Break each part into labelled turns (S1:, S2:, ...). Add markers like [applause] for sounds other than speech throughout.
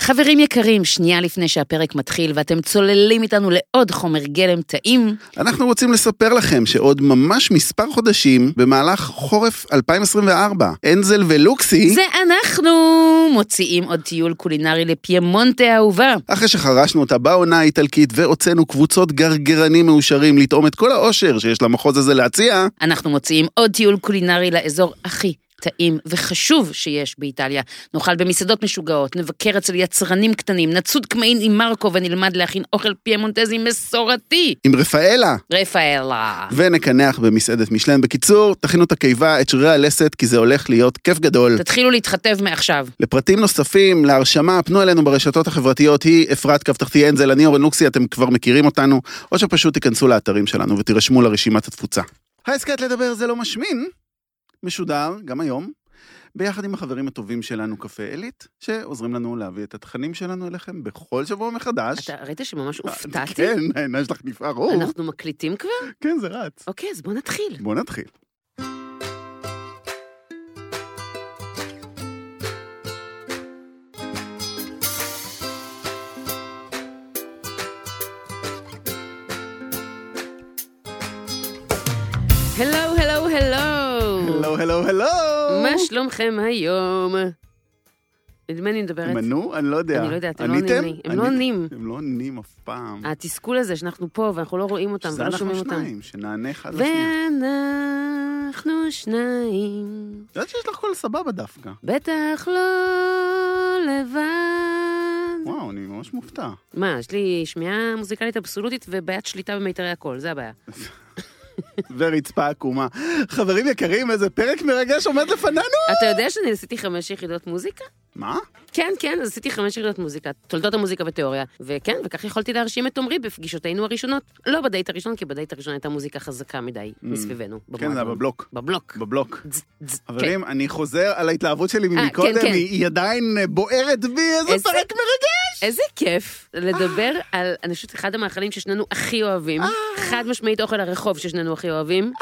S1: חברים יקרים, שנייה לפני שהפרק מתחיל ואתם צוללים איתנו לעוד חומר גלם טעים,
S2: אנחנו רוצים לספר לכם שעוד ממש מספר חודשים, במהלך חורף 2024, אנזל ולוקסי,
S1: זה אנחנו מוציאים עוד טיול קולינרי לפיימונטה האהובה.
S2: אחרי שחרשנו אותה בעונה האיטלקית והוצאנו קבוצות גרגרנים מאושרים לטעום את כל האושר שיש למחוז הזה להציע,
S1: אנחנו מוציאים עוד טיול קולינרי לאזור הכי טעים וחשוב שיש באיטליה. נאכל במסעדות משוגעות, נבקר אצל יצרנים קטנים, נצוד קמעין עם מרקו ונלמד להכין אוכל פיימונטזי מסורתי.
S2: עם רפאלה,
S1: רפאלה.
S2: ונקנח במסעדת משלן. בקיצור, תכינו את הקיבה, את שרירי הלסת, כי זה הולך להיות כיף גדול.
S1: תתחילו להתחתב מעכשיו.
S2: לפרטים נוספים, להרשמה, פנו אלינו ברשתות החברתיות, היא אפרת קו תחתי אנזל, אני אורן לוקסי, אתם כבר מכירים אותנו, או שפשוט תיכנסו לאתרים שלנו ותירשמו לרשימת התפוצה. ההסכת לדבר זה לא משמין, משודר, גם היום, ביחד עם החברים הטובים שלנו, קפה עילית, שעוזרים לנו להביא את התכנים שלנו אליכם בכל שבוע מחדש. אה,
S1: אתה ראית שממש הופתעתי? לא-
S2: כן, העיניים שלך נפערו.
S1: אנחנו מקליטים כבר?
S2: כן, זה רץ.
S1: אוקיי, אז בוא נתחיל.
S2: בואו נתחיל.
S1: הלו, הלו, הלו.
S2: הלו, הלו, הלו!
S1: מה שלומכם היום? נדמה לי מדברת.
S2: הם ענו? אני לא יודע.
S1: אני לא יודעת, הם לא עונים
S2: עניתם?
S1: לי. הם
S2: אני-
S1: לא עונים.
S2: הם לא עונים אף פעם.
S1: התסכול הזה שאנחנו פה ואנחנו לא רואים אותם
S2: שזה
S1: ולא
S2: אנחנו
S1: שומעים אותם.
S2: שניים, שנענה אחד לשנייה.
S1: ואנחנו שניים,
S2: את יודעת שיש לך קול סבבה דווקא.
S1: בטח לא לבד.
S2: וואו, אני ממש מופתע. [laughs]
S1: מה, יש לי שמיעה מוזיקלית אבסולוטית ובעיית שליטה במיתרי הקול, זה הבעיה.
S2: ורצפה עקומה. חברים יקרים, איזה פרק מרגש עומד לפנינו!
S1: אתה יודע שאני עשיתי חמש יחידות מוזיקה?
S2: מה?
S1: כן, כן, אז עשיתי חמש יחידות מוזיקה, תולדות המוזיקה ותיאוריה. וכן, וכך יכולתי להרשים את עמרי בפגישותינו הראשונות. לא בדייט הראשון, כי בדייט הראשון הייתה מוזיקה חזקה מדי מסביבנו.
S2: כן, זה היה
S1: במועדון.
S2: בבלוק.
S1: בבלוק.
S2: בבלוק.
S1: דז, דז, כן.
S2: חברים, אני חוזר על ההתלהבות שלי
S1: כן,
S2: מקודם,
S1: כן.
S2: היא היא עדיין אה, בוערת בי, איזה
S1: איזה-
S2: פרק מרגש!
S1: [laughs] איזה כיף לדבר על, אני חושבת, אחד המאכלים ששנינו הכי אוהבים.
S2: אה.
S1: חד משמעית אוכל הרחוב ששנינו הכי אוהבים.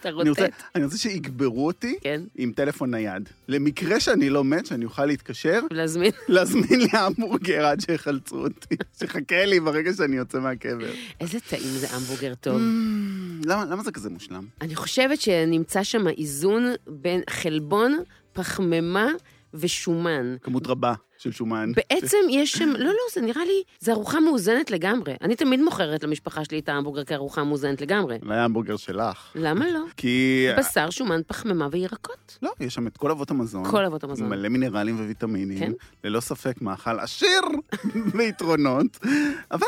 S1: אתה
S2: אני רוצה-
S1: רוטט,
S2: אני רוצה שיגברו אותי
S1: כן?
S2: עם טלפון נייד. למקרה שאני לא מת, שאני אוכל להתקשר,
S1: להזמין.
S2: להזמין לי המבורגר עד שיחלצו אותי, [laughs] שיחכה לי ברגע שאני יוצא מהקבר.
S1: איזה טעים זה המבורגר טוב.
S2: Mm, למה למה זה כזה מושלם?
S1: אני חושבת שנמצא שם איזון בין חלבון, פחמימה ושומן.
S2: כמות רבה של שומן.
S1: בעצם יש שם, לא, לא, זה נראה לי, זה ארוחה מאוזנת לגמרי. אני תמיד מוכרת למשפחה שלי את ההמבורגר כארוחה מאוזנת לגמרי.
S2: והיה המבורגר שלך.
S1: למה לא?
S2: כי...
S1: בשר, שומן, פחמימה וירקות.
S2: לא, יש שם את כל אבות המזון.
S1: כל אבות המזון.
S2: Oh, מלא מינרלים וויטמינים.
S1: כן.
S2: ללא ספק מאכל עשיר [laughs] ביתרונות, אבל...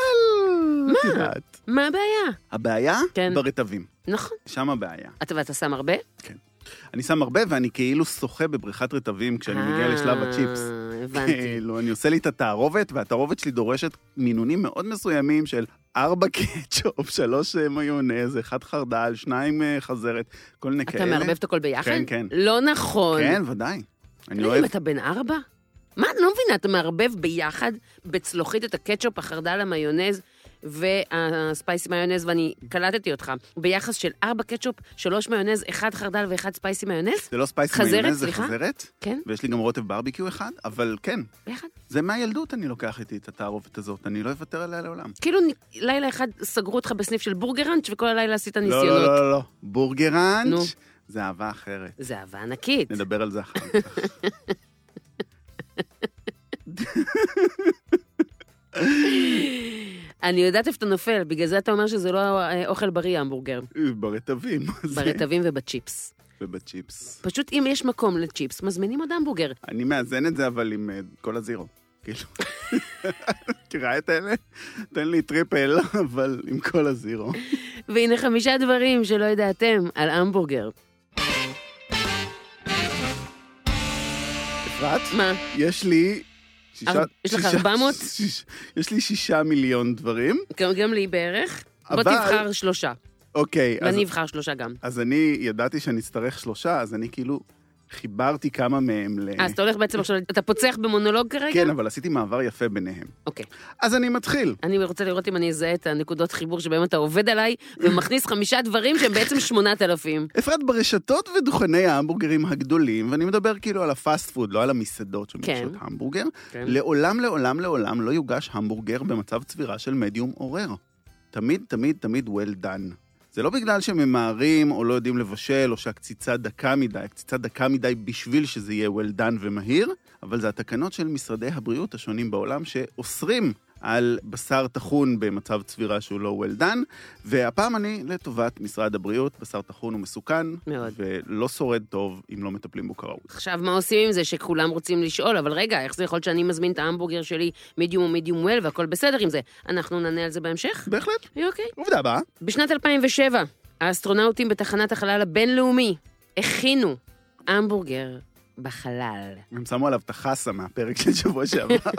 S2: את יודעת.
S1: מה הבעיה?
S2: הבעיה?
S1: כן.
S2: ברטבים.
S1: נכון.
S2: שם הבעיה.
S1: אתה ואתה שם הרבה?
S2: אני שם הרבה ואני כאילו שוחה בבריכת רטבים כשאני מגיע
S1: אה,
S2: לשלב הצ'יפס. [laughs]
S1: הבנתי.
S2: כאילו, אני עושה לי את התערובת, והתערובת שלי דורשת מינונים מאוד מסוימים של ארבע קטשופ, [laughs] שלוש אה, מיונז, אחד חרדל, שניים אה, חזרת, כל מיני
S1: אתה
S2: כאלה.
S1: מערבב את הכל ביחד?
S2: כן, כן.
S1: לא נכון.
S2: כן, ודאי. אני
S1: אני
S2: אוהב...
S1: אוהב. אתה בן ארבע? מה, אני לא מבינה, אתה מערבב ביחד בצלוחית את הקטשופ, החרדל, המיונז והספייסי מיונז, ואני קלטתי אותך, ביחס של ארבע קטשופ, שלוש מיונז, אחד חרדל ואחד ספייסי מיונז?
S2: זה לא ספייס
S1: חזרת,
S2: מיונז, זה
S1: סליחה?
S2: חזרת,
S1: כן,
S2: ויש לי גם רוטב ברביקיו אחד, אבל כן,
S1: ביחד.
S2: זה מהילדות אני לוקח איתי את התערובת הזאת, אני לא אוותר עליה לעולם.
S1: כאילו נ- לילה אחד סגרו אותך בסניף של בורגראנץ' וכל הלילה עשית
S2: לא,
S1: ניסיונות.
S2: לא, לא, לא.
S1: נו.
S2: בורגראנץ' זה אהבה אחרת.
S1: זה אהבה ענקית.
S2: נדבר על זה אחר כך. [laughs]
S1: אני יודעת איפה אתה נופל, בגלל זה אתה אומר שזה לא אה, אוכל בריא,
S2: [laughs]
S1: המבורגר.
S2: ברטבים. זה-
S1: ברטבים ובצ'יפס.
S2: ובצ'יפס.
S1: פשוט אם יש מקום לצ'יפס, מזמינים עוד המבורגר.
S2: אני מאזן את זה, אבל עם אה, כל הזירו. כאילו, [laughs] תראה את אלה? תן לי טריפל, אבל עם כל הזירו.
S1: והנה חמישה דברים שלא ידעתם על המבורגר.
S2: אפרת,
S1: מה?
S2: יש לי... שישה...
S1: אר- יש לך
S2: שישה-
S1: 400?
S2: שיש- יש לי שישה מיליון דברים.
S1: גם, גם לי בערך? בוא
S2: אבל-
S1: תבחר שלושה,
S2: אוקיי, אז-
S1: ואני אבחר שלושה גם.
S2: אז אני ידעתי שאני אצטרך שלושה, אז אני כאילו חיברתי כמה מהם ל...
S1: אה, אז אתה הולך בעצם עכשיו, אתה פוצח במונולוג כרגע?
S2: כן, אבל עשיתי מעבר יפה ביניהם.
S1: אוקיי.
S2: אז אני מתחיל.
S1: אני רוצה לראות אם אני אזהה את הנקודות חיבור שבהם אתה עובד עליי, ומכניס חמישה דברים שהם
S2: [laughs]
S1: בעצם שמונת אלפים.
S2: אפרת, ברשתות ודוכני ההמבורגרים הגדולים, ואני מדבר כאילו על הפאסט פוד, לא על המסעדות
S1: כן.
S2: שמגישות המבורגר,
S1: כן.
S2: לעולם, לעולם, לעולם לא יוגש המבורגר במצב צבירה של מדיום עורר. תמיד, תמיד, תמיד well done. זה לא בגלל שממהרים, או לא יודעים לבשל, או שהקציצה דקה מדי. הקציצה דקה מדי בשביל שזה יהיה well done ומהיר, אבל זה התקנות של משרדי הבריאות השונים בעולם שאוסרים על בשר טחון במצב צבירה שהוא לא well done, והפעם אני לטובת משרד הבריאות, בשר טחון הוא מסוכן,
S1: מאוד.
S2: ולא שורד טוב אם לא מטפלים בו כראוי.
S1: עכשיו, מה עושים עם זה שכולם רוצים לשאול, אבל רגע, איך זה יכול להיות שאני מזמין את ההמבורגר שלי מדיום ומדיום וול והכל בסדר עם זה? אנחנו נענה על זה בהמשך?
S2: בהחלט.
S1: אוקיי.
S2: עובדה הבאה.
S1: בשנת 2007, האסטרונאוטים בתחנת החלל הבינלאומי הכינו המבורגר בחלל.
S2: הם שמו עליו את החסה מהפרק של שבוע שעבר.
S1: [laughs]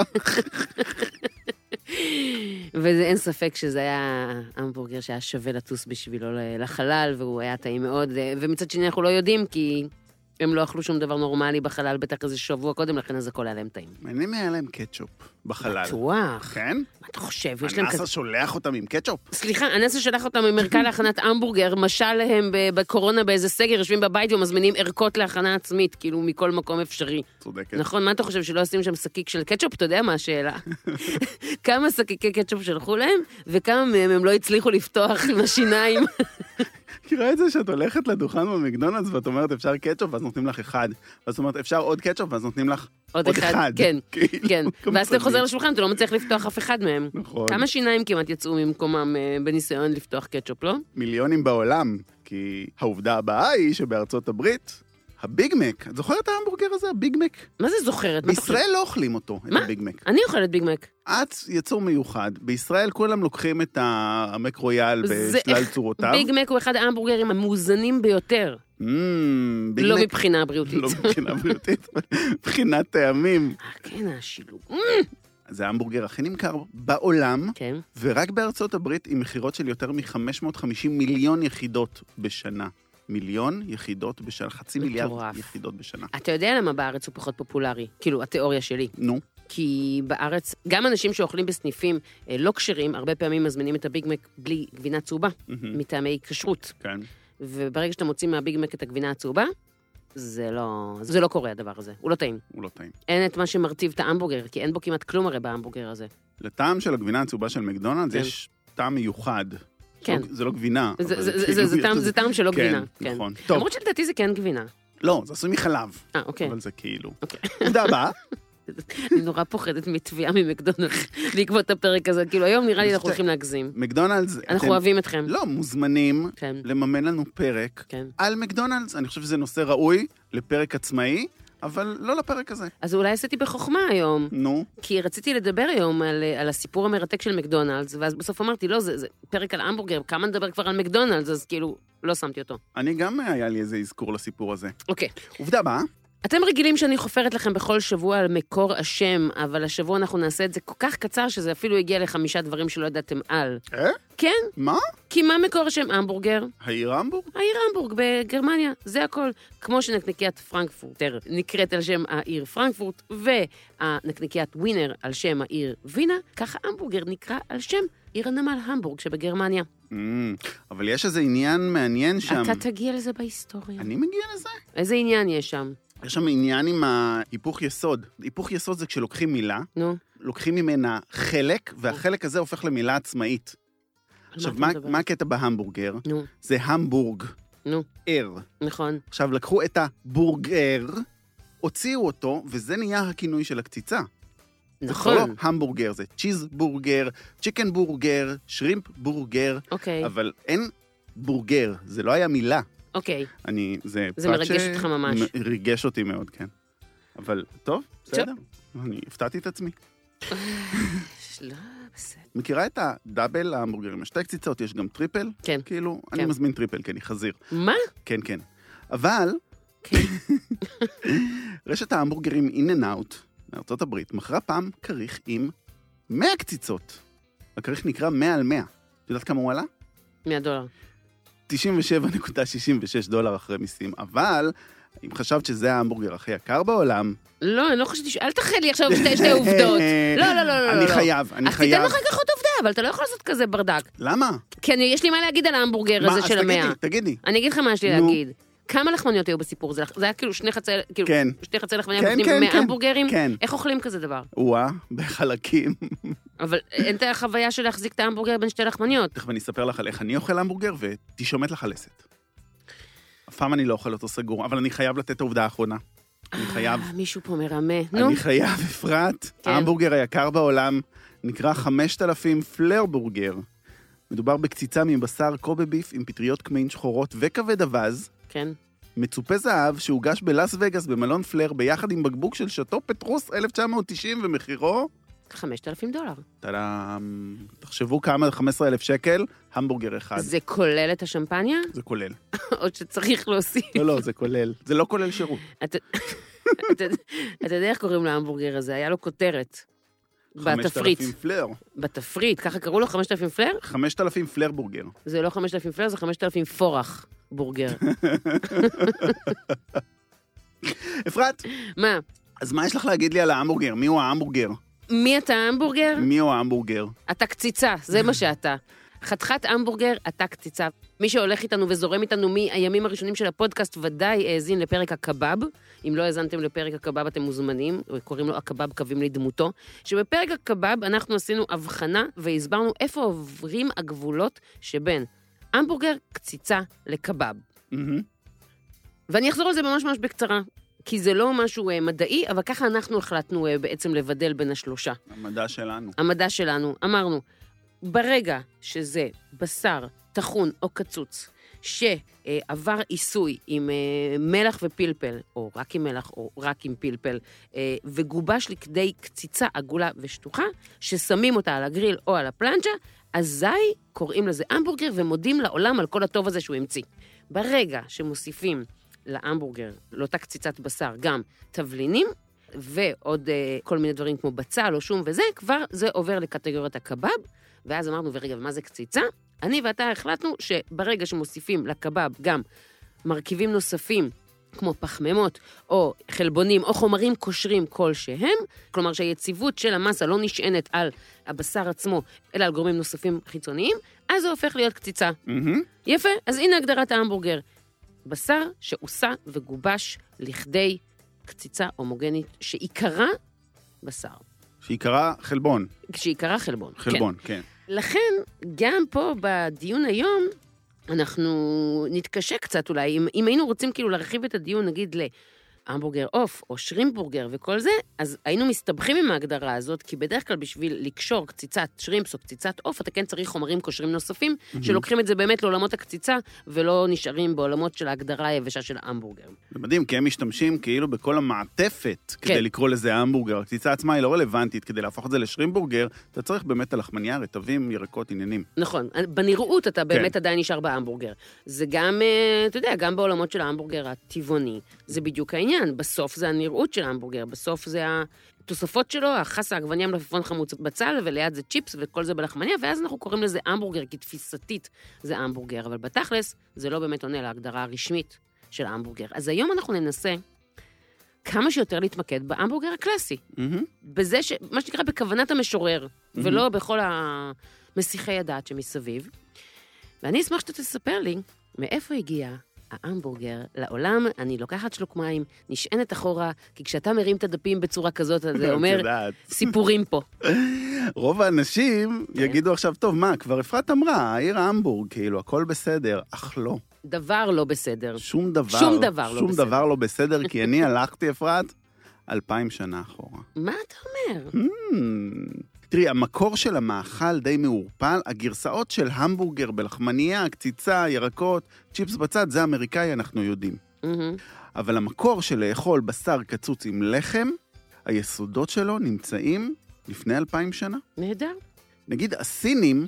S1: ואין ספק שזה היה המבורגר שהיה שווה לטוס בשבילו ל- לחלל, והוא היה טעים מאוד, אה, ומצד שני אנחנו לא יודעים, כי הם לא אכלו שום דבר נורמלי בחלל, בטח איזה שבוע קודם לכן, אז הכל היה להם טעים.
S2: מעניין אם היה להם קטשופ בחלל.
S1: בטוח.
S2: כן?
S1: מה אתה חושב? יש להם כזה...
S2: הנאסא שולח אותם עם קטשופ?
S1: סליחה, הנאס"א שלח אותם ממרכז להכנת המבורגר, משל להם ב- בקורונה באיזה סגר, יושבים בבית ומזמינים ערכות להכנה עצמית, כאילו מכל מקום אפשרי.
S2: צודקת.
S1: נכון, מה אתה חושב, שלא ישים שם שקית של קטשופ? אתה יודע מה
S2: [laughs]
S1: השאלה. כמה שקיקי קטשופ שלחו להם, וכמה מהם הם לא הצליחו לפתוח עם השיניים.
S2: מכירה את זה שאת הולכת לדוכן במקדונלדס ואת אומרת אפשר קטשופ ואז נותנים לך אחד. ואז את אומרת אפשר עוד קטשופ ואז נותנים לך
S1: עוד
S2: [laughs] עוד
S1: אחד,
S2: אחד.
S1: כן,
S2: [laughs] כאילו,
S1: כן.
S2: כמה
S1: ואז אתה חוזר
S2: צדיק.
S1: לשולחן, אתה לא מצליח לפתוח אף אחד מהם.
S2: נכון.
S1: כמה שיניים כמעט יצאו ממקומם אה, בניסיון לפתוח קטשופ, לא?
S2: מיליונים בעולם. כי העובדה הבאה היא שבארצות הברית, הביג מק, את זוכרת את ההמבורגר הזה? הביג מק?
S1: מה זה זוכרת? מה אתה חושב?
S2: בישראל לא אוכלים אותו, את
S1: מה?
S2: הביג מק.
S1: אני אוכלת ביג מק.
S2: את יצור מיוחד, בישראל כולם לוקחים את המק רויאל
S1: זה-
S2: בשלל צורותיו.
S1: ביג מק הוא אחד ההמבורגרים המאוזנים ביותר.
S2: מם, ביג
S1: לא
S2: מק-
S1: מבחינה בריאותית.
S2: לא מבחינה בריאותית, אבל מבחינת טעמים.
S1: אה, כן, השילוב.
S2: זה ההמבורגר הכי נמכר בעולם,
S1: כן.
S2: ורק בארצות הברית עם מכירות של יותר מ-550 מיליון יחידות בשנה. מיליון יחידות בשנה, חצי מיליארד
S1: מטורף.
S2: יחידות בשנה.
S1: אתה יודע למה בארץ הוא פחות פופולרי? כאילו, התיאוריה שלי.
S2: נו,
S1: כי בארץ, גם אנשים שאוכלים בסניפים אה, לא כשרים, הרבה פעמים מזמינים את הביג מק בלי גבינה צהובה,
S2: מהמם.
S1: מטעמי כשרות.
S2: כן.
S1: וברגע שאתם מוצאים מהביג מק את הגבינה הצהובה, זה לא, זה לא קורה הדבר הזה, הוא לא טעים.
S2: הוא לא טעים.
S1: אין את מה שמרטיב את ההמבורגר, כי אין בו כמעט כלום הרי בהמבורגר הזה.
S2: לטעם של הגבינה הצהובה של מקדונלדס
S1: כן.
S2: יש טעם מיוחד.
S1: כן.
S2: לא- זה לא גבינה.
S1: זה-
S2: אבל
S1: זה- זה-
S2: כאילו
S1: זה- זה
S2: יש
S1: טעם-
S2: לזה-
S1: זה טעם שלא גבינה,
S2: כן,
S1: כן.
S2: נכון. טוב,
S1: למרות שלדעתי זה כן גבינה.
S2: לא, זה עשוי מחלב.
S1: אה, אוקיי.
S2: אבל זה כאילו. עובדה הבאה.
S1: [laughs] אני נורא פוחדת מתביעה ממקדונלדס [laughs] בעקבות הפרק הזה. כאילו, היום נראה לי אנחנו
S2: זה-
S1: הולכים להגזים.
S2: מקדונלדס,
S1: אנחנו
S2: אתם
S1: אוהבים אתכם.
S2: לא מוזמנים
S1: כן,
S2: לממן לנו פרק
S1: כן.
S2: על מקדונלדס. אני חושב שזה נושא ראוי לפרק עצמאי, אבל לא לפרק הזה.
S1: אז אולי עשיתי בחוכמה היום.
S2: נו,
S1: כי רציתי לדבר היום על, אה, על הסיפור המרתק של מקדונלדס, ואז בסוף אמרתי, לא, זה, זה פרק על המבורגר, כמה נדבר כבר על מקדונלדס, אז כאילו, לא שמתי אותו.
S2: אני גם אה, היה לי איזה אזכור לסיפור הזה.
S1: אוקיי.
S2: עובדה הבאה,
S1: אתם רגילים שאני חופרת לכם בכל שבוע על מקור השם, אבל השבוע אנחנו נעשה את זה כל כך קצר, שזה אפילו הגיע לחמישה דברים שלא ידעתם על.
S2: אה?
S1: כן,
S2: מה?
S1: כי מה מקור השם המבורגר?
S2: העיר המבורג?
S1: העיר המבורג בגרמניה, זה הכל. כמו שנקניקיית פרנקפורטר נקראת על שם העיר פרנקפורט, והנקניקיית ווינר על שם העיר וינה, ככה המבורגר נקרא על שם עיר הנמל המבורג שבגרמניה.
S2: אמ, אבל יש איזה עניין מעניין שם.
S1: אתה תגיע לזה בהיסטוריה.
S2: אני מגיע לזה?
S1: איזה עניין יש שם?
S2: יש שם עניין עם ההיפוך יסוד. היפוך יסוד זה כשלוקחים מילה,
S1: נו,
S2: לוקחים ממנה חלק, והחלק הזה הופך למילה עצמאית.
S1: על
S2: עכשיו,
S1: מה
S2: מה-
S1: אתה מדבר?
S2: מה הקטע בהמבורגר?
S1: נו,
S2: זה המבורג.
S1: נו.
S2: ער.
S1: נכון.
S2: עכשיו, לקחו את הבורגר, הוציאו אותו, וזה נהיה הכינוי של הקציצה. זה
S1: נכון.
S2: כבר לא המבורגר, זה צ'יזבורגר, צ'יקן בורגר, שרימפ בורגר,
S1: אוקיי,
S2: אבל אין בורגר, זה לא היה מילה.
S1: אוקיי.
S2: אני, זה...
S1: זה
S2: פרט
S1: מרגש אותך ממש.
S2: מ- ריגש אותי מאוד, כן. אבל, טוב, בסדר. אני הפתעתי את עצמי.
S1: לא, בסדר.
S2: מכירה את הדאבל ההמבורגרים? יש שתי קציצות, יש גם טריפל?
S1: כן.
S2: כאילו, אני
S1: כן.
S2: מזמין טריפל, כי אני חזיר.
S1: מה?
S2: כן, כן. אבל,
S1: כן.
S2: [laughs] רשת ההמבורגרים In and Out מארצות הברית מכרה פעם כריך עם 100 קציצות. הכריך נקרא 100 על 100. את יודעת כמה הוא עלה?
S1: 100 דולר.
S2: 97.66 דולר אחרי מיסים, אבל אם חשבת שזה ההמבורגר הכי יקר בעולם, אה,
S1: לא, אני לא חשבתי ש... אל תחל לי עכשיו שתי שתי עובדות. לא, לא, לא, לא. לא,
S2: [laughs] אני
S1: לא.
S2: חייב, אני
S1: אז תיתן
S2: חייב.
S1: אחר כך עוד עובדה, אבל אתה לא יכול לעשות כזה ברדק.
S2: למה?
S1: כי אני, יש לי מה להגיד על ההמבורגר
S2: מה,
S1: הזה
S2: אז
S1: של
S2: תגידי,
S1: המאה.
S2: תגידי.
S1: אני אגיד לך מה יש לי
S2: נו.
S1: להגיד. כמה לחמניות היו בסיפור הזה? זה היה כאילו שני חצי, כאילו,
S2: כן.
S1: שתי חצי לחמניה
S2: כן,
S1: בפנים
S2: כן, כן.
S1: מהמבורגרים?
S2: כן.
S1: איך אוכלים כזה דבר?
S2: וואה, בחלקים.
S1: אבל אין את החוויה של להחזיק את ההמבורגר בין שתי לחמניות.
S2: תכף אני אספר לך על איך אני אוכל המבורגר, ותשעמט לך הלסת. אף פעם אני לא אוכל אותו סגור, אבל אני חייב לתת את העובדה האחרונה. אני חייב.
S1: אה, מישהו פה מרמה. נו,
S2: אני חייב, אפרת.
S1: כן.
S2: ההמבורגר היקר בעולם נקרא 5,000 פלרבורגר. מדובר בקציצה מבשר קובה ביף עם פטריות קמעין שחורות וכבד אווז,
S1: כן.
S2: מצופה זהב שהוגש בלאס וגאס במלון פלר ביחד עם בקבוק של שאטו פטרוס 1990 ומחירו...
S1: 5,000 דולר.
S2: טאדאם. תחשבו כמה, 15,000 שקל, המבורגר אחד.
S1: זה כולל את השמפניה? [laughs]
S2: זה כולל.
S1: או שצריך להוסיף?
S2: לא, לא, זה כולל. זה לא כולל שירות.
S1: אתה אתה- אתה יודע איך קוראים להמבורגר הזה? היה לו כותרת. בתפריט.
S2: 5,000 פלר.
S1: בתפריט, ככה קראו לו 5,000 פלר?
S2: 5,000 פלרבורגר.
S1: זה לא 5,000 פלר, זה 5,000 פורח
S2: [laughs]
S1: בורגר.
S2: אפרת,
S1: מה,
S2: אז מה יש לך להגיד לי על ההמבורגר? מיהו ההמבורגר?
S1: מי אתה המבורגר?
S2: מיהו ההמבורגר?
S1: אתה קציצה, זה מה שאתה. חתיכת המבורגר, אתה קציצה. מי שהולך איתנו וזורם איתנו מהימים הראשונים של הפודקאסט ודאי האזין לפרק הקבב. אם לא האזנתם לפרק הקבב, אתם מוזמנים, קוראים לו הקבב קווים לדמותו. שבפרק הקבב אנחנו עשינו הבחנה והסברנו איפה עוברים הגבולות שבין המבורגר, קציצה לקבב.
S2: מהמם.
S1: ואני אחזור על זה ממש ממש בקצרה, כי זה לא משהו אה, מדעי, אבל ככה אנחנו החלטנו אה, בעצם לבדל בין השלושה.
S2: המדע שלנו.
S1: המדע שלנו, אמרנו, ברגע שזה בשר טחון או קצוץ, שעבר עיסוי עם אה, מלח ופלפל, או רק עם מלח או רק עם פלפל, אה, וגובש לכדי קציצה עגולה ושטוחה, ששמים אותה על הגריל או על הפלנצ'ה, אזי קוראים לזה המבורגר ומודים לעולם על כל הטוב הזה שהוא המציא. ברגע שמוסיפים להמבורגר, לאותה קציצת בשר, גם תבלינים, ועוד אה, כל מיני דברים כמו בצל או שום וזה, כבר זה עובר לקטגוריית הקבב. ואז אמרנו, ורגע, מה זה קציצה? אני ואתה החלטנו שברגע שמוסיפים לקבב גם מרכיבים נוספים, כמו פחמימות, או חלבונים, או חומרים קושרים כלשהם, כלומר שהיציבות של המסה לא נשענת על הבשר עצמו, אלא על גורמים נוספים חיצוניים, אז זה הופך להיות קציצה.
S2: מהמם.
S1: יפה, אז הנה הגדרת ההמבורגר. בשר שהוסה וגובש לכדי קציצה הומוגנית שעיקרה בשר.
S2: שעיקרה חלבון.
S1: שעיקרה חלבון.
S2: חלבון, כן.
S1: כן. לכן, גם פה בדיון היום, אנחנו נתקשה קצת אולי, אם, אם היינו רוצים כאילו להרחיב את הדיון, נגיד להמבורגר עוף או שרימפבורגר וכל זה, אז היינו מסתבכים עם ההגדרה הזאת, כי בדרך כלל בשביל לקשור קציצת שרימפס או קציצת עוף, אתה כן צריך חומרים קושרים נוספים, שלוקחים את זה באמת לעולמות הקציצה, ולא נשארים בעולמות של ההגדרה היבשה של המבורגר.
S2: זה מדהים, כי הם משתמשים כאילו בכל המעטפת
S1: כן.
S2: כדי לקרוא לזה המבורגר. הקציצה עצמה היא לא רלוונטית, כדי להפוך את זה לשרימבורגר, אתה צריך באמת את הלחמניה, רטבים, ירקות, עניינים.
S1: נכון, בנראות אתה באמת עדיין נשאר בהמבורגר. זה גם, אה, אתה יודע, גם בעולמות של ההמבורגר הטבעוני, זה בדיוק העניין. בסוף זה הנראות של ההמבורגר, בסוף זה התוספות שלו, החסה, עגבניה, מלפפון חמוץ בצל, וליד זה צ'יפס וכל זה בלחמניה, ואז אנחנו קוראים לזה המבורגר, כי תפיסתית זה המבורגר, אבל בתכלס זה לא באמת עונה להגדרה הרשמית של ההמבורגר. אז היום אנחנו ננסה כמה שיותר להתמקד בהמבורגר הקלאסי.
S2: [laughs] מהמם.
S1: בזה ש... מה שנקרא בכוונת המשורר, ולא בכל המסיחי הדעת שמסביב. ואני אשמח שאתה תספר לי מאיפה הגיע ההמבורגר לעולם. אני לוקחת שלוק מים, נשענת אחורה, כי כשאתה מרים את הדפים בצורה כזאת, אז
S2: [laughs]
S1: זה
S2: את
S1: אומר
S2: יודעת.
S1: סיפורים פה.
S2: רוב האנשים יגידו עכשיו, טוב, מה, כבר אפרת אמרה, העיר המבורג, כאילו, הכל בסדר, אך לא.
S1: דבר לא בסדר.
S2: שום דבר.
S1: שום דבר לא
S2: שום
S1: בסדר.
S2: דבר לא בסדר, כי
S1: [laughs]
S2: אני הלכתי, אפרת, אלפיים שנה אחורה.
S1: מה אתה אומר?
S2: Hmm. תראי, המקור של המאכל די מעורפל, הגרסאות של המבורגר בלחמנייה, קציצה, ירקות, צ'יפס בצד, זה אמריקאי, אנחנו יודעים.
S1: מהמם.
S2: אבל המקור של לאכול בשר קצוץ עם לחם, היסודות שלו נמצאים לפני אלפיים שנה.
S1: נהדר.
S2: נגיד הסינים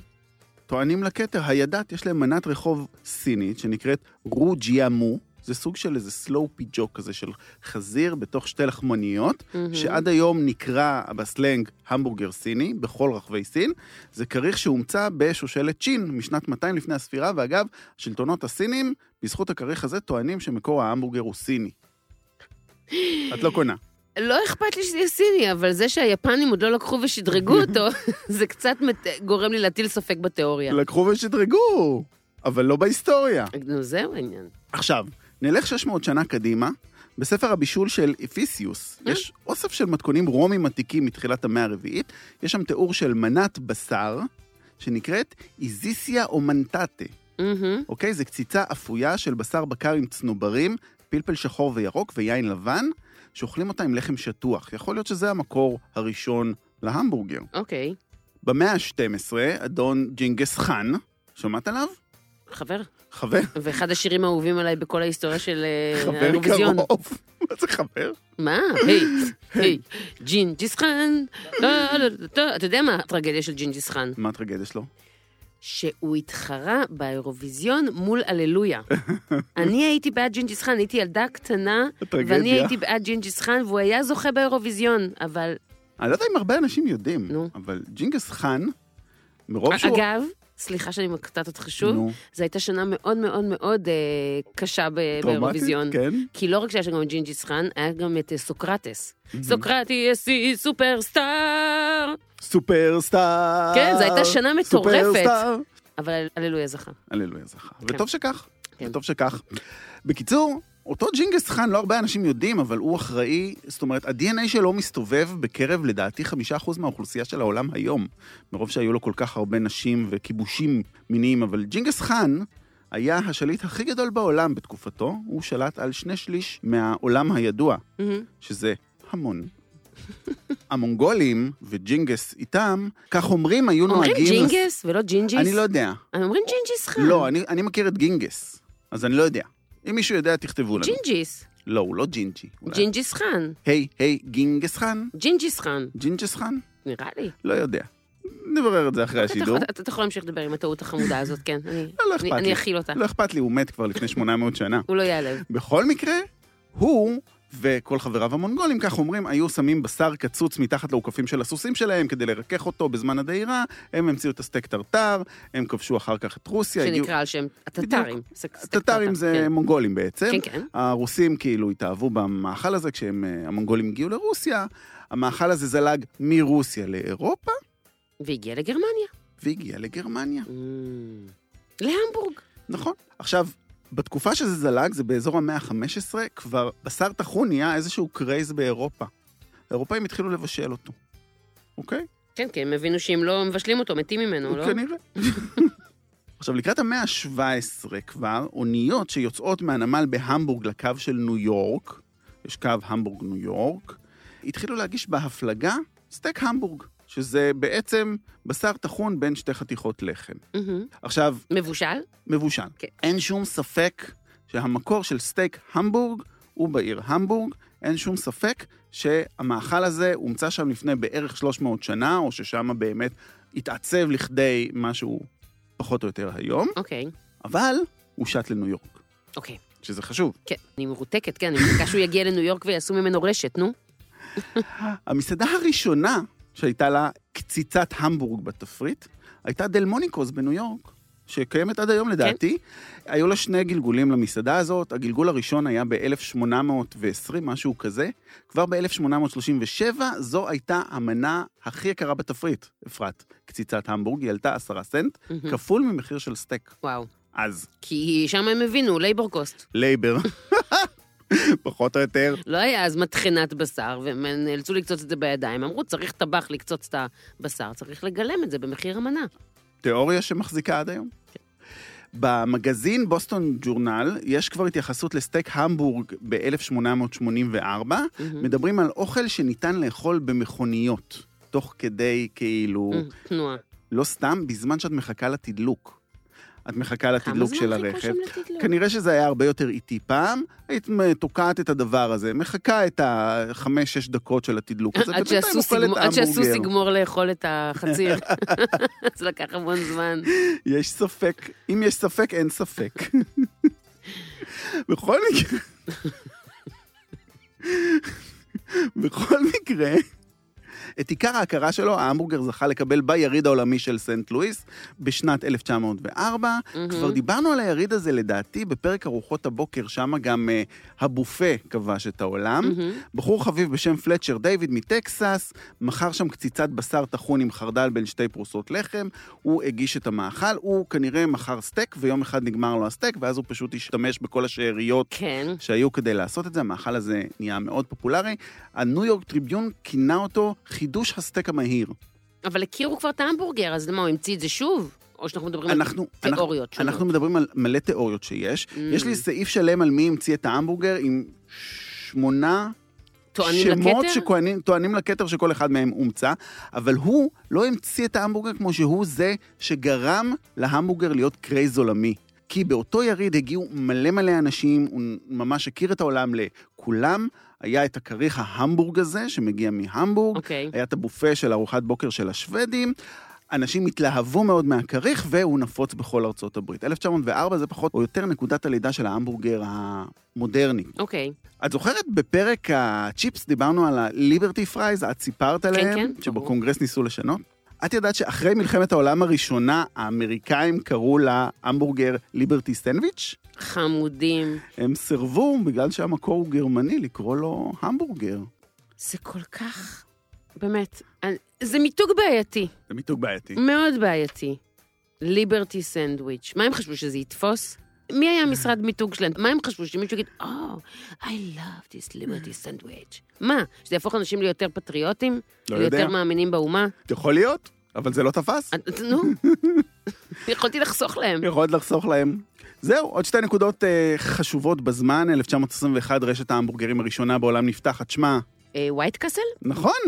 S2: טוענים לכתר, הידעת, יש להם מנת רחוב סינית שנקראת רוג'יאמו, זה סוג של איזה סלואו פיג'ו כזה של חזיר בתוך שתי לחמניות,
S1: מהמם.
S2: שעד היום נקרא בסלנג המבורגר סיני, בכל רחבי סין. זה כריך שהומצא בשושלת צ'ין משנת 200 לפני הספירה, ואגב, השלטונות הסינים, בזכות הכריך הזה, טוענים שמקור ההמבורגר הוא סיני. את לא קונה.
S1: לא אכפת לי שזה יהיה סיני, אבל זה שהיפנים עוד לא לקחו ושדרגו אותו, זה קצת מת... גורם לי להטיל ספק בתיאוריה.
S2: לקחו ושדרגו, אבל לא בהיסטוריה.
S1: נו, זהו העניין.
S2: עכשיו, נלך 600 שנה קדימה. בספר הבישול של אפיסיוס יש אוסף של מתכונים רומים עתיקים מתחילת המאה הרביעית. יש שם תיאור של מנת בשר, שנקראת איזיסיה או מנטטה,
S1: מהמם.
S2: אוקיי? זה קציצה אפויה של בשר בקר עם צנוברים, פלפל שחור וירוק ויין לבן, שאוכלים אותה עם לחם שטוח. יכול להיות שזה המקור הראשון להמבורגר.
S1: אוקיי.
S2: במאה ה-12, אדון ג'ינגס חאן, שמעת עליו?
S1: חבר.
S2: חבר?
S1: ואחד השירים האהובים עליי בכל ההיסטוריה של אה,
S2: חבר
S1: האירוויזיון.
S2: קרוב. [laughs] מה זה חבר?
S1: מה? היי, היי, ג'ינג'יס חאן. לא, לא, לא, לא. אתה יודע מה הטרגדיה של ג'ינג'יס חאן?
S2: מה הטרגדיה שלו?
S1: שהוא התחרה באירוויזיון מול
S2: [laughs]
S1: הללויה. אני הייתי בעד ג'ינג'יס חאן, הייתי ילדה קטנה,
S2: הטרגדיה.
S1: ואני הייתי בעד ג'ינג'יס חאן, והוא היה זוכה באירוויזיון, אבל...
S2: אני לא יודע אם הרבה אנשים יודעים,
S1: נו.
S2: אבל ג'ינגס חאן, מרוב שהוא...
S1: אגב, סליחה שאני מקטעת אותך שוב,
S2: נו,
S1: זו הייתה שנה מאוד מאוד מאוד אה, קשה ב-
S2: טראומטי,
S1: באירוויזיון.
S2: כן.
S1: כי לא רק שהיה שם גם את ג'ינג'יס חאן, היה גם את אה, סוקרטס.
S2: Mhm.
S1: סוקרטס היא סופרסטאר!
S2: סופרסטאר.
S1: כן, זו הייתה שנה מטורפת.
S2: סופרסטאר.
S1: אבל הללויה זכה.
S2: הללויה זכה.
S1: כן.
S2: וטוב שכך,
S1: כן.
S2: וטוב שכך. בקיצור, אותו ג'ינגס חאן, לא הרבה אנשים יודעים, אבל הוא אחראי, זאת אומרת, ה-DNA שלו מסתובב בקרב, לדעתי, חמישה אחוז מהאוכלוסייה של העולם היום, מרוב שהיו לו כל כך הרבה נשים וכיבושים מיניים, אבל ג'ינגס חאן היה השליט הכי גדול בעולם בתקופתו, הוא שלט על שני שליש מהעולם הידוע,
S1: מהמם.
S2: שזה המון.
S1: [laughs]
S2: המונגולים וג'ינגס איתם, כך אומרים, היו נוהגים...
S1: אומרים
S2: לס-
S1: ג'ינגס ולא ג'ינג'יס?
S2: אני לא יודע.
S1: אומרים ג'ינג'יס חאן.
S2: לא, אני, אני מכיר את גינגס, אז אני לא יודע. אם מישהו יודע, תכתבו לנו.
S1: ג'ינג'יס.
S2: לא, הוא לא ג'ינג'י. אולי-
S1: ג'ינג'יס חאן.
S2: היי, היי, גינגס חאן?
S1: ג'ינג'יס חאן.
S2: ג'ינג'ס חאן?
S1: נראה לי.
S2: לא יודע. נברר את זה אחרי
S1: אתה
S2: השידור.
S1: יכול- אתה אתה יכול להמשיך לדבר עם הטעות החמודה הזאת, כן. אני-
S2: לא,
S1: אני-
S2: לא אכפת לי.
S1: אני אכיל אותה.
S2: לא אכפת לי, הוא מת כבר לפני 800 שנה.
S1: הוא לא ייעלב.
S2: בכל מקרה, הוא וכל חבריו המונגולים, כך אומרים, היו שמים בשר קצוץ מתחת לאוכפים של הסוסים שלהם כדי לרכך אותו בזמן הדהירה, הם המציאו את הסטייק טרטר, הם כבשו אחר כך את רוסיה. הגיעו-
S1: שנקרא על שם הטטרים. סק- סק-
S2: הטטרים זה
S1: כן.
S2: מונגולים בעצם.
S1: כן, כן.
S2: הרוסים כאילו התאהבו במאכל הזה כשהם, אה, המונגולים הגיעו לרוסיה, המאכל הזה זלג מרוסיה לאירופה
S1: והגיע לגרמניה.
S2: והגיע לגרמניה, Mm.
S1: אמ, להמבורג.
S2: נכון? עכשיו, בתקופה שזה זלג, זה באזור המאה ה-15, כבר בשר טחון נהיה איזשהו קרייז באירופה. האירופאים התחילו לבשל אותו, אוקיי?
S1: כן, כי הם הבינו שאם לא מבשלים אותו, מתים ממנו, לא?
S2: כנראה. [laughs] עכשיו, לקראת המאה ה-17 כבר, אוניות שיוצאות מהנמל בהמבורג לקו של ניו יורק, יש קו המבורג-ניו יורק, התחילו להגיש בהפלגה סטייק המבורג, שזה בעצם בשר טחון בין שתי חתיכות לחם.
S1: מהמם.
S2: עכשיו,
S1: Mhm. מבושל?
S2: מבושל.
S1: כן.
S2: אין שום ספק שהמקור של סטייק המבורג הוא בעיר המבורג. אין שום ספק שהמאכל הזה הומצא שם לפני בערך 300 שנה, או ששם באמת התעצב לכדי משהו פחות או יותר היום,
S1: אוקיי.
S2: אבל הוא שט לניו יורק,
S1: אוקיי.
S2: שזה חשוב.
S1: כן. אני מרותקת, כן. אני מחכה שהוא יגיע לניו יורק ויעשו ממנו רשת, נו.
S2: המסעדה הראשונה שהייתה לה קציצת המבורג בתפריט, הייתה דל מוניקוס בניו יורק, שקיימת עד היום לדעתי. כן. היו לה שני גלגולים למסעדה הזאת, הגלגול הראשון היה ב-1820, משהו כזה. כבר ב-1837 זו הייתה המנה הכי יקרה בתפריט, אפרת. קציצת המבורג, היא עלתה עשרה סנט,
S1: מהמם.
S2: כפול ממחיר של סטייק.
S1: וואו.
S2: אז
S1: כי שם הם הבינו, לייבור קוסט.
S2: לייבר, פחות או יותר.
S1: לא היה אז מטחנת בשר, והם נאלצו לקצוץ את זה בידיים. אמרו, צריך טבח לקצוץ את הבשר, צריך לגלם את זה במחיר המנה.
S2: תיאוריה שמחזיקה עד היום.
S1: כן.
S2: במגזין בוסטון ג'ורנל יש כבר התייחסות לסטייק המבורג ב-1884,
S1: מהמם.
S2: מדברים על אוכל שניתן לאכול במכוניות, תוך כדי כאילו,
S1: מהמם. תנועה.
S2: לא סתם, בזמן שאת מחכה לתדלוק. את מחכה
S1: כמה
S2: לתדלוק
S1: זמן
S2: של
S1: חיכו
S2: הרכב. כן,
S1: שם לתדלוק?
S2: כנראה שזה היה הרבה יותר איטי פעם, היית תוקעת את הדבר הזה, מחכה את החמש-שש דקות של התדלוק הזה,
S1: [laughs] עד
S2: ובינתיים
S1: שהסוס
S2: אוכלת
S1: יגמור- עד שהסוס
S2: המבורגר.
S1: יגמור לאכול את
S2: [laughs]
S1: החציר. זה לקח המון זמן.
S2: יש ספק, אם יש ספק, אין ספק. בכל מקרה... בכל מקרה, את עיקר ההכרה שלו, ההמבורגר זכה לקבל ביריד העולמי של סנט לואיס בשנת 1904.
S1: Mm-hmm.
S2: כבר דיברנו על היריד הזה, לדעתי, בפרק ארוחות הבוקר, שם גם אה, הבופה כבש את העולם. בחור חביב בשם פלצ'ר דיוויד מטקסס, מכר שם קציצת בשר טחון עם חרדל בין שתי פרוסות לחם, הוא הגיש את המאכל, הוא כנראה מכר סטייק, ויום אחד נגמר לו הסטייק, ואז הוא פשוט השתמש בכל השאריות
S1: כן.
S2: שהיו כדי לעשות את זה, המאכל הזה נהיה מאוד פופולרי. הניו יורק טריביון כינה אותו חידוש הסטייק המהיר.
S1: אבל הכירו כבר את ההמבורגר, אז מה, הוא המציא את זה שוב? או שאנחנו מדברים
S2: אנחנו,
S1: על
S2: אנחנו,
S1: תיאוריות שונות?
S2: אנחנו מדברים על מלא תיאוריות שיש. Mm. יש לי סעיף שלם על מי המציא את ההמבורגר עם שמונה
S1: טוענים
S2: שמות
S1: לכתר?
S2: שטוענים לכתר שכל אחד מהם הומצא, אבל הוא לא המציא את ההמבורגר כמו שהוא זה שגרם להמבורגר להיות קרייז עולמי. כי באותו יריד הגיעו מלא מלא אנשים, הוא ממש הכיר את העולם לכולם. היה את הכריך ההמבורג הזה, שמגיע מהמבורג,
S1: אוקיי.
S2: היה את הבופה של ארוחת בוקר של השוודים. אנשים התלהבו מאוד מהכריך, והוא נפוץ בכל ארצות הברית. 1904 זה פחות או יותר נקודת הלידה של ההמבורגר המודרני.
S1: אוקיי.
S2: את זוכרת בפרק הצ'יפס דיברנו על הליברטי פרייז, את סיפרת עליהם,
S1: כן,
S2: שבקונגרס ניסו לשנות? את ידעת שאחרי מלחמת העולם הראשונה, האמריקאים קראו להמבורגר ליברטי סנדוויץ'?
S1: חמודים.
S2: הם סירבו, בגלל שהמקור הוא גרמני, לקרוא לו המבורגר.
S1: זה כל כך... באמת, אני- זה מיתוג בעייתי,
S2: זה מיתוג בעייתי.
S1: מאוד בעייתי. ליברטי סנדוויץ'. מה הם חשבו, שזה יתפוס? מי היה משרד מיתוג שלהם? מה הם חשבו, שמישהו יגיד, או, oh, I love this liberty sandwich. מה, שזה יהפוך אנשים ליותר פטריוטים?
S2: לא
S1: ליותר
S2: יודע.
S1: מאמינים באומה?
S2: יכול להיות, אבל זה לא תפס.
S1: אז- נו, יכולתי לחסוך להם.
S2: יכולת לחסוך להם. זהו, עוד שתי נקודות אה, חשובות בזמן. 1921, רשת ההמבורגרים הראשונה בעולם נפתחת. שמע,
S1: אה, ווייט קאסל?
S2: נכון,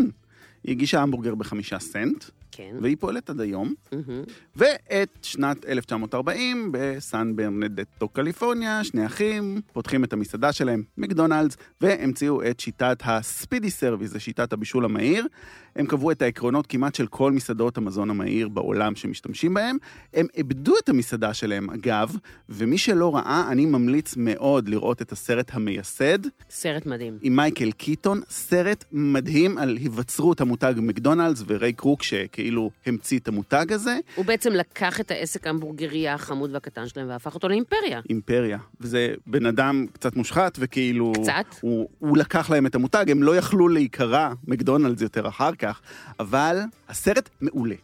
S2: היא הגישה המבורגר בחמישה סנט.
S1: כן.
S2: והיא פועלת עד היום,
S1: מהמם.
S2: ואת שנת 1940 בסן ברנדטו, קליפורניה, שני אחים פותחים את המסעדה שלהם, מקדונלדס, והמציאו את שיטת הספידי סרוויס, זו שיטת הבישול המהיר. הם קבעו את העקרונות כמעט של כל מסעדות המזון המהיר בעולם שמשתמשים בהם. הם איבדו את המסעדה שלהם, אגב, ומי שלא ראה, אני ממליץ מאוד לראות את הסרט המייסד,
S1: סרט מדהים.
S2: עם מייקל קיטון, סרט מדהים על היווצרות המותג מקדונלדס וריי קרוק שכאילו המציא את המותג הזה,
S1: הוא בעצם לקח את העסק ההמבורגריה החמוד והקטן שלהם והפך אותו לאימפריה.
S2: אימפריה. וזה בן אדם קצת מושחת וכאילו...
S1: קצת?
S2: הוא, הוא לקח להם את המותג, הם לא יכלו להיקרא מקדונלדס יותר אחר כך, אבל הסרט מעולה.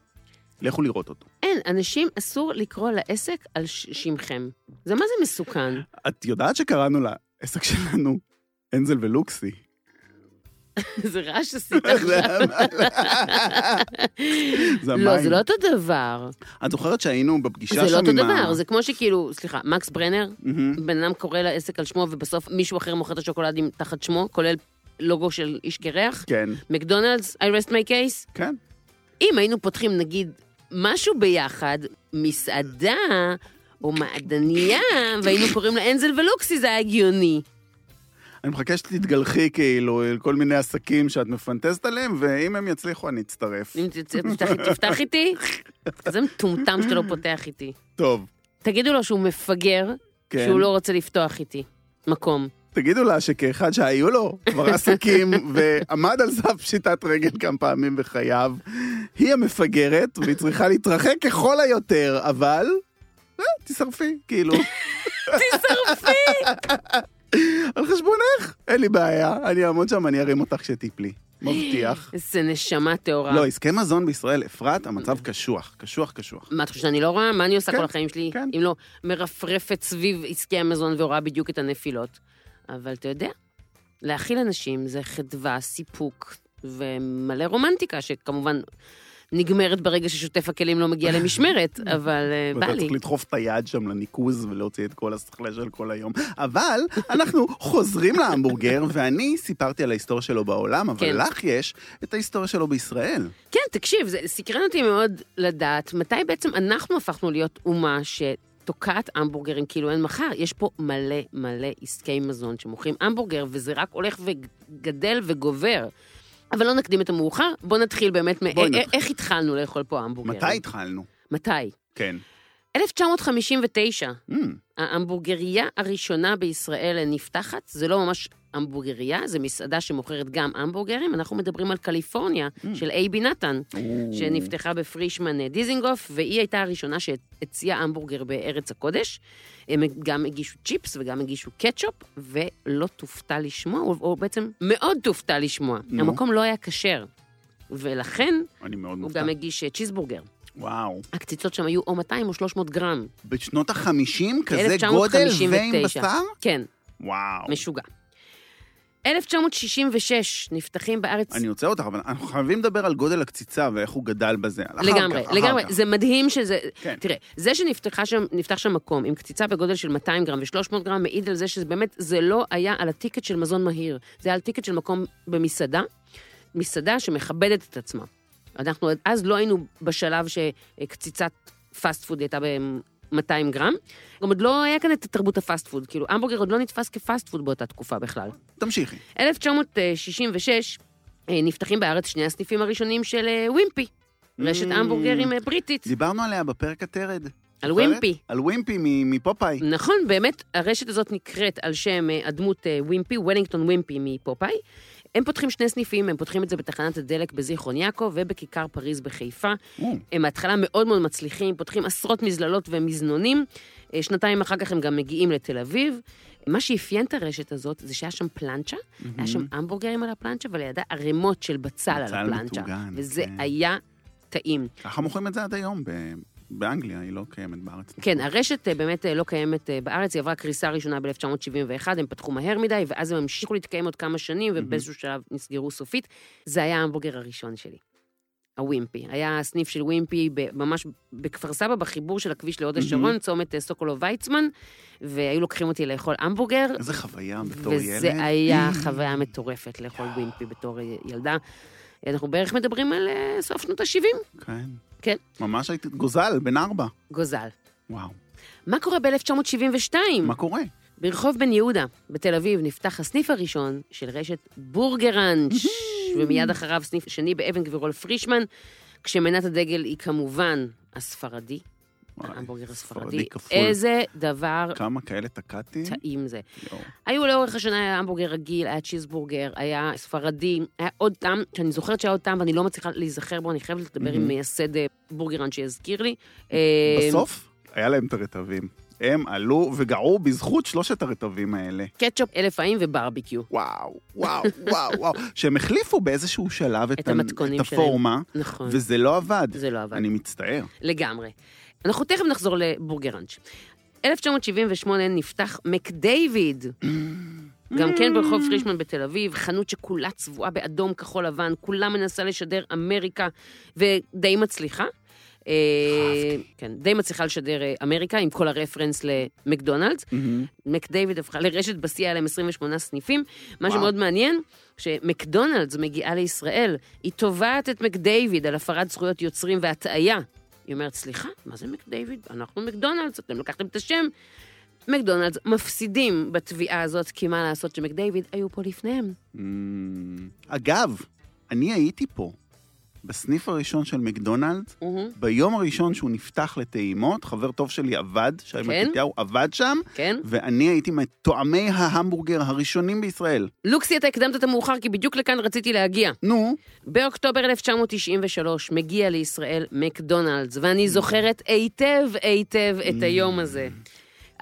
S2: לכו לראות אותו.
S1: אין, אנשים אסור לקרוא לעסק על ש- שמכם. זה מה זה מסוכן? [laughs]
S2: את יודעת שקראנו לעסק שלנו אנזל
S1: [laughs]
S2: ולוקסי.
S1: לא, זה רעש
S2: [laughs]
S1: שעשית
S2: זה
S1: עכשיו.
S2: זה
S1: לא,
S2: המים.
S1: זה לא אותו דבר.
S2: את זוכרת שהיינו בפגישה
S1: זה
S2: שם
S1: לא אותו
S2: עם ה-
S1: דבר. זה כמו שכאילו, סליחה, מקס ברנר,
S2: מהמם.
S1: בן אדם קורא לעסק על שמו ובסוף מישהו אחר מוכר את השוקולדים תחת שמו, כולל לוגו של איש קרח.
S2: כן,
S1: מקדונלדס, I rest my case.
S2: כן.
S1: אם היינו פותחים נגיד משהו ביחד, מסעדה או מעדניה, והיינו קוראים לה אנזל ולוקסי, זה היה הגיוני.
S2: אני מחכה שתתגלחי כאילו על כל מיני עסקים שאת מפנטזת עליהם, ואם הם יצליחו אני אצטרף.
S1: אם תצא- תפתח, תפתח איתי, זה מטומטם שאתה לא פותח איתי.
S2: טוב,
S1: תגידו לו שהוא מפגר,
S2: כן.
S1: שהוא לא רוצה לפתוח איתי
S2: [laughs]
S1: מקום.
S2: תגידו לה שכאחד שהיו לו
S1: [laughs]
S2: כבר עסקים ועמד על סף פשיטת רגל כמה פעמים בחייו, היא המפגרת והיא צריכה להתרחק ככל היותר, אבל... אה, תשרפי,
S1: [laughs]
S2: כאילו. תשרפי! על חשבונך, אין לי בעיה, אני אעמוד שם, אני ארים אותך כשתיפלי. מבטיח.
S1: [laughs] איזה נשמה טהורה.
S2: לא, עסקי מזון בישראל,
S1: [laughs]
S2: אפרת, המצב קשוח, קשוח, קשוח.
S1: מה, את חושבת שאני לא רואה? מה אני עושה
S2: כן,
S1: כל החיים שלי?
S2: כן.
S1: אם לא מרפרפת סביב עסקי המזון ורואה בדיוק את הנפילות. אבל אתה יודע, להאכיל אנשים זה חדווה, סיפוק ומלא רומנטיקה, שכמובן נגמרת ברגע ששוטף הכלים לא מגיע
S2: [laughs]
S1: למשמרת, אבל אה, בא
S2: ואתה
S1: לי.
S2: צריך לדחוף את היד שם לניקוז ולהוציא את כל השכלה של כל היום. אבל אנחנו חוזרים
S1: [laughs]
S2: להמבורגר, ואני סיפרתי על ההיסטוריה שלו בעולם, אבל
S1: כן.
S2: לך יש את ההיסטוריה שלו בישראל.
S1: כן, תקשיב, זה סקרן אותי מאוד לדעת מתי בעצם אנחנו הפכנו להיות אומה שתוקעת המבורגרים כאילו אין מחר. יש פה מלא מלא עסקי מזון שמוכרים המבורגר, וזה רק הולך וגדל וגובר. אבל לא נקדים את המאוחר, בואו נתחיל באמת, מ-
S2: בואי
S1: א- א-
S2: נתחיל.
S1: איך התחלנו לאכול פה המבורגר?
S2: מתי התחלנו?
S1: מתי?
S2: כן.
S1: 1959,
S2: Mm,
S1: ההמבורגריה הראשונה בישראל נפתחת, זה לא ממש המבורגריה, זה מסעדה שמוכרת גם המבורגרים, אנחנו מדברים על קליפורניה
S2: Mm.
S1: של אייבי נתן,
S2: או.
S1: שנפתחה בפרישמן אה, דיזינגוף, והיא הייתה הראשונה שהציעה המבורגר בארץ הקודש. הם גם הגישו צ'יפס וגם הגישו קטשופ, ולא תופתע לשמוע, או, או בעצם מאוד תופתע לשמוע.
S2: נו.
S1: המקום לא היה כשר, ולכן
S2: אני מאוד
S1: הוא
S2: מופתע.
S1: גם הגיש אה, צ'יזבורגר.
S2: וואו.
S1: הקציצות שם היו או 200 או 300 גרם.
S2: בשנות ה-50 כזה גודל
S1: 1959.
S2: ועם בשר?
S1: כן,
S2: וואו.
S1: משוגע. 1966 נפתחים בארץ...
S2: אני עוצר אותך, אבל אנחנו חייבים לדבר על גודל הקציצה ואיך הוא גדל בזה. אחר
S1: לגמרי,
S2: כך, אחר
S1: לגמרי.
S2: כך.
S1: זה מדהים שזה...
S2: כן.
S1: תראה, זה שנפתח שם, נפתח שם מקום עם קציצה בגודל של 200 גרם ו-300 גרם, מעיד על זה שזה באמת, זה לא היה על הטיקט של מזון מהיר, זה היה על טיקט של מקום במסעדה, מסעדה שמכבדת את עצמה. אנחנו עד אז לא היינו בשלב שקציצת פאסט פוד הייתה בהם 200 גרם. גם עוד לא היה כאן את תרבות הפאסט פוד, כאילו, המבורגר עוד לא נתפס כפאסט פוד באותה תקופה בכלל.
S2: תמשיכי.
S1: 1966 אה, נפתחים בארץ שני הסניפים הראשונים של אה, ווימפי, רשת
S2: Mm.
S1: המבורגרים אה, בריטית,
S2: דיברנו עליה בפרק הטרד.
S1: על
S2: זוכרת?
S1: ווימפי.
S2: על ווימפי מ- מפופאי.
S1: נכון, באמת, הרשת הזאת נקראת על שם אה, הדמות אה, ווימפי, וולינגטון ווימפי מפופאי. הם פותחים שני סניפים, הם פותחים את זה בתחנת הדלק בזיכרון יעקב ובכיכר פריז בחיפה.
S2: או,
S1: הם מההתחלה מאוד מאוד מצליחים, פותחים עשרות מזללות ומזנונים. אה, שנתיים אחר כך הם גם מגיעים לתל אביב. מה שאפיין את הרשת הזאת זה שהיה שם פלנצ'ה, היה שם המבורגרים על הפלנצ'ה, ולידה ערימות של בצל על
S2: Mm-hmm. בצל
S1: הפלנצ'ה.
S2: מטוגן,
S1: וזה
S2: כן.
S1: היה טעים.
S2: ככה מוכרים את זה עד היום ב- באנגליה, היא לא קיימת בארץ.
S1: כן, הרשת אה, באמת אה, לא קיימת אה, בארץ, היא עברה קריסה ראשונה ב-1971, הם פתחו מהר מדי, ואז הם המשיכו להתקיים עוד כמה שנים,
S2: Mm-hmm.
S1: ובאיזשהו שלב נסגרו סופית. זה היה ההמבורגר הראשון שלי, הווימפי. היה סניף של ווימפי ב- ממש בכפר סבא, בחיבור של הכביש
S2: Mm-hmm.
S1: להוד השרון, צומת אה, סוקולוב ויצמן, והיו לוקחים אותי לאכול המבורגר.
S2: איזה חוויה בתור ילד.
S1: וזה היה חוויה מטורפת לאכול ווימפי בתור אה, ילדה. אנחנו בערך מדברים על אה, סוף שנות ה-70,
S2: כן.
S1: כן.
S2: ממש הייתי גוזל, בן ארבע.
S1: גוזל.
S2: וואו.
S1: כן. מה קורה ב-1972?
S2: מה קורה?
S1: כן, ברחוב בן יהודה, בתל אביב, נפתח הסניף הראשון של רשת בורגראנץ',
S2: Mm-hmm.
S1: ומיד אחריו סניף שני באבן גבירול פרישמן, כשמנת הדגל היא כמובן הספרדי,
S2: וואי,
S1: ההמבורגר הספרדי.
S2: ספרדי כפול.
S1: איזה דבר
S2: כמה כאלה תקעתי?
S1: טעים זה.
S2: יואו.
S1: היו לאורך השנה, היה המבורגר רגיל, היה צ'יזבורגר, היה ספרדי, היה עוד טעם, שאני זוכרת שהיה עוד טעם ואני לא מצליחה להיזכר בו, אני חייבת לדבר עם
S2: מהמם.
S1: מייסד אה, בורגרן שיזכיר לי. אמ-
S2: בסוף היה להם את הרטבים. הם עלו וגעו בזכות שלושת הרטבים האלה.
S1: אה, קטשופ, אלף חיים וברביקיו.
S2: וואו, וואו, וואו,
S1: [laughs]
S2: וואו. שהם החליפו באיזשהו שלב את,
S1: את
S2: ה-
S1: המתכונים
S2: את
S1: שלהם.
S2: הפורמה,
S1: נכון,
S2: וזה לא עבד.
S1: זה לא עבד.
S2: אני מצטער.
S1: לגמרי. אנחנו תכף נחזור לבורגראנץ'. 1978 נפתח מקדייוויד, גם כן ברחוב פרישמן בתל אביב, חנות שכולה צבועה באדום כחול לבן, כולה מנסה לשדר אמריקה, ודי מצליחה. אה, כן, די מצליחה לשדר אה, אמריקה, עם כל הרפרנס למקדונלדס. מקדייוויד הפכה לרשת בשיא, היה להם 28 סניפים. מה
S2: וואו.
S1: שמאוד מעניין, שמקדונלדס מגיעה לישראל, היא תובעת את מקדייוויד על הפרת זכויות יוצרים והטעיה. היא אומרת, סליחה, מה זה מקדייוויד? אנחנו מקדונלדס, אתם לקחתם את השם. מקדונלדס מפסידים בתביעה הזאת, כי מה לעשות שמקדייוויד היו פה לפניהם.
S2: אמ, אגב, אני הייתי פה, בסניף הראשון של מקדונלדס, ביום הראשון שהוא נפתח לטעימות, חבר טוב שלי עבד, שי מתתיהו עבד שם,
S1: כן?
S2: ואני הייתי מטועמי ההמבורגר הראשונים בישראל.
S1: לוקסי, אתה הקדמת את המאוחר, כי בדיוק לכאן רציתי להגיע.
S2: נו,
S1: באוקטובר 1993 מגיע לישראל מקדונלדס, ואני זוכרת היטב היטב את היום הזה.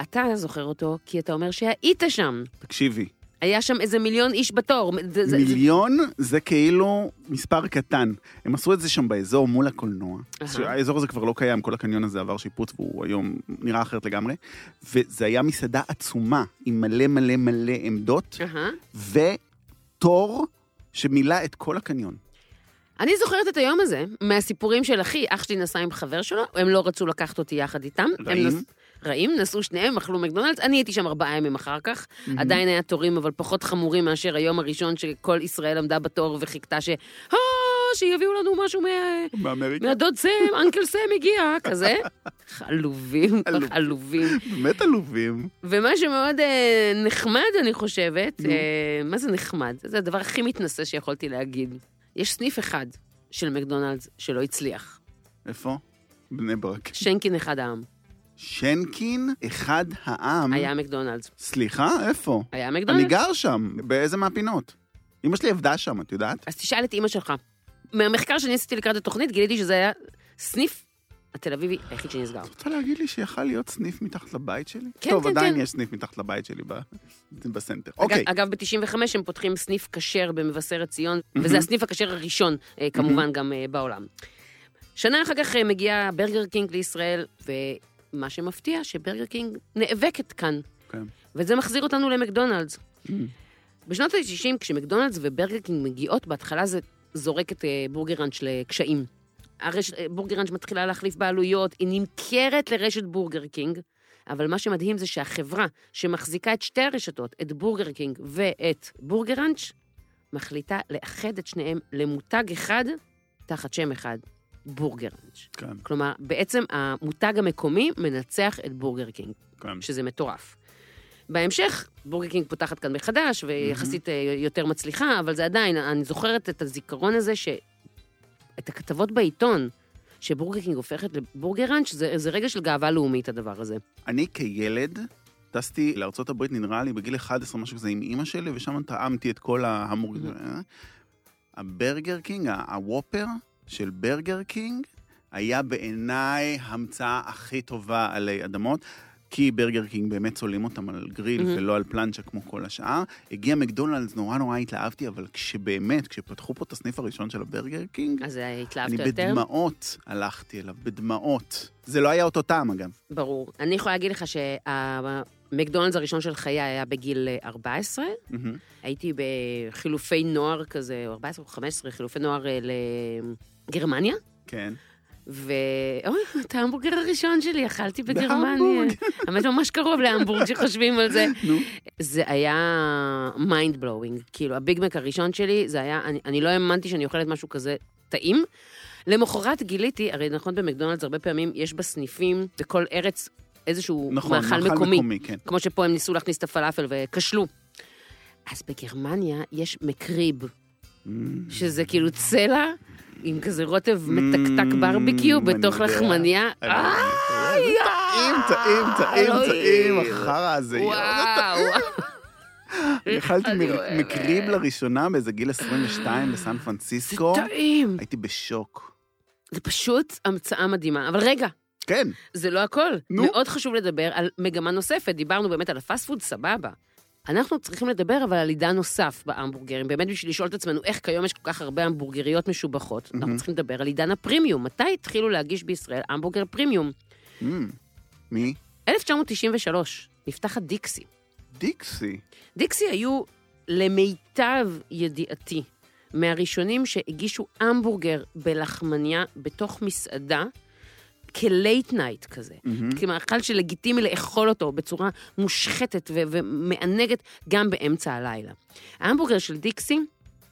S1: אתה זוכר אותו כי אתה אומר שהיית שם.
S2: תקשיבי,
S1: היה שם איזה מיליון איש בתור. זה- זה- זה-
S2: מיליון זה כאילו מספר קטן. הם עשו את זה שם באזור מול הקולנוע.
S1: אהה.
S2: האזור הזה כבר לא קיים, כל הקניון הזה עבר שיפוץ והוא היום נראה אחרת לגמרי. וזה היה מסעדה עצומה, עם מלא מלא מלא עמדות,
S1: אהה.
S2: ותור שמילא את כל הקניון.
S1: אני זוכרת את היום הזה מהסיפורים של אחי, אח שלי נסע עם חבר שלו, הם לא רצו לקחת אותי יחד איתם. הם
S2: רעים?
S1: נס- רעים, נסעו שניהם, אכלו מקדונלדס, אני הייתי שם ארבעה ימים אחר כך. עדיין היה תורים, אבל פחות חמורים מאשר היום הראשון שכל ישראל עמדה בתור וחיכתה ש... "אה, שיביאו לנו משהו מה...
S2: באמריקה.
S1: מהדוד סם, אנקל סם הגיע, כזה. עלובים,
S2: עלוב.
S1: עלובים.
S2: באמת עלובים.
S1: ומה שמאוד אה, נחמד, אני חושבת, אה, מה זה נחמד? זה הדבר הכי מתנשא שיכולתי להגיד. יש סניף אחד של מקדונלדס שלא הצליח.
S2: איפה? בני ברק.
S1: שנקין אחד העם.
S2: שנקין, אחד העם.
S1: היה מקדונלדס.
S2: סליחה, איפה?
S1: היה
S2: אמ. אני
S1: מקדונלדס.
S2: גר שם, באיזה מהפינות. אמא שלי עבדה שם, את יודעת?
S1: אז תשאל את אימא שלך. מהמחקר שאני עשיתי לקראת התוכנית, גיליתי שזה היה סניף התל אביבי היחיד שנסגר.
S2: את רוצה להגיד לי שיכל להיות סניף מתחת לבית שלי?
S1: כן,
S2: טוב,
S1: כן,
S2: עדיין
S1: כן.
S2: יש סניף מתחת לבית שלי ב- בסנטר. אוקיי,
S1: אג- אגב, ב-95 הם פותחים סניף כשר במבשרת ציון, וזה הסניף הכשר הראשון, אה, כמובן, גם אה, בעולם. שנה אחר כך אה, מגיע ברגר קינג לישראל, ומה שמפתיע, שברגר קינג נאבקת כאן.
S2: כן.
S1: וזה מחזיר אותנו למקדונלדס. בשנות ה-60, כשמקדונלדס וברגר קינג מגיעות, בהתחלה זה זורק את אה, בורגראנץ' לקשיים. הרשת, אה, בורגראנץ' מתחילה להחליף בעלויות, היא נמכרת לרשת בורגר קינג, אבל מה שמדהים זה שהחברה שמחזיקה את שתי הרשתות, את בורגר קינג ואת בורגראנץ', מחליטה לאחד את שניהם למותג אחד תחת שם אחד, בורגראנץ'.
S2: כן,
S1: כלומר, בעצם המותג המקומי מנצח את בורגר קינג.
S2: כן.
S1: שזה מטורף. בהמשך, בורגר קינג פותחת כאן מחדש, ויחסית אה, יותר מצליחה, אבל זה עדיין, אני זוכרת את הזיכרון הזה, ש... את הכתבות בעיתון, שבורגר קינג הופכת לבורגר ראנץ', זה, זה רגע של גאווה לאומית, הדבר הזה.
S2: אני כילד טסתי לארה"ב, נראה לי בגיל 11, משהו כזה, עם אימא שלי, ושם טעמתי את כל ההמורגר. הברגר קינג, ה- הוופר של ברגר קינג, היה בעיניי ההמצאה הכי טובה עלי אדמות. כי ברגר קינג באמת צולים אותם על גריל
S1: Mhm.
S2: ולא על פלנצ'ה כמו כל השאר. הגיע מקדונלדס, נורא נורא התלהבתי, אבל כשבאמת, כשפתחו פה את הסניף הראשון של הברגר קינג,
S1: אז אה, התלהבת
S2: אני
S1: יותר?
S2: בדמעות הלכתי אליו, בדמעות. זה לא היה אותו טעם, אגב.
S1: ברור. אני יכולה להגיד לך שהמקדונלדס הראשון של חיי היה בגיל אה, 14,
S2: מהמם.
S1: הייתי בחילופי נוער כזה, או 14 או 15, חילופי נוער אה, לגרמניה.
S2: כן.
S1: ו... אוי, את ההמבורגר הראשון שלי אכלתי בגרמניה.
S2: בהמבורג.
S1: האמת, ממש קרוב להמבורג שחושבים על זה.
S2: נו.
S1: זה היה מיינד בלואוינג. כאילו, הביגמק הראשון שלי, זה היה, אני, אני לא האמנתי שאני אוכלת משהו כזה טעים. למחרת גיליתי, הרי נכון במקדונלדס הרבה פעמים יש בסניפים בכל ארץ איזשהו
S2: נכון,
S1: מאכל, מקומי.
S2: כן.
S1: כמו שפה הם ניסו להכניס את הפלאפל וכשלו. אז בגרמניה יש מקריב. שזה כאילו צלע עם כזה רוטב מתקתק ברביקיו
S2: Mm, אני
S1: בתוך
S2: יודע.
S1: לחמניה.
S2: אני
S1: אה,
S2: יודע. טעים, טעים, טעים, טעים,
S1: אלוהים.
S2: החרא הזה.
S1: וואו.
S2: [laughs] אני אכלתי
S1: אני
S2: מ-
S1: אוהבת.
S2: מקריב לראשונה באיזה גיל 22 בסן
S1: זה
S2: פרנסיסקו.
S1: טעים.
S2: הייתי בשוק.
S1: זה פשוט המצאה מדהימה. אבל רגע,
S2: כן,
S1: זה לא הכל.
S2: נו.
S1: מאוד חשוב לדבר על מגמה נוספת. דיברנו באמת על הפאסט פוד, סבבה. אנחנו צריכים לדבר אבל על עידן נוסף בהמבורגרים, באמת בשביל לשאול את עצמנו איך כיום יש כל כך הרבה המבורגריות משובחות. אנחנו צריכים לדבר על עידן הפרימיום. מתי התחילו להגיש בישראל המבורגר פרימיום?
S2: Mm. מי?
S1: 1993, נפתחת דיקסי.
S2: דיקסי.
S1: דיקסי היו, למיטב ידיעתי, מהראשונים שהגישו המבורגר בלחמניה בתוך מסעדה, כלייט נייט כזה.
S2: מהמם.
S1: כמאכל שלגיטימי לאכול אותו בצורה מושחתת ו- ומענגת גם באמצע הלילה. ההמבורגר של דיקסי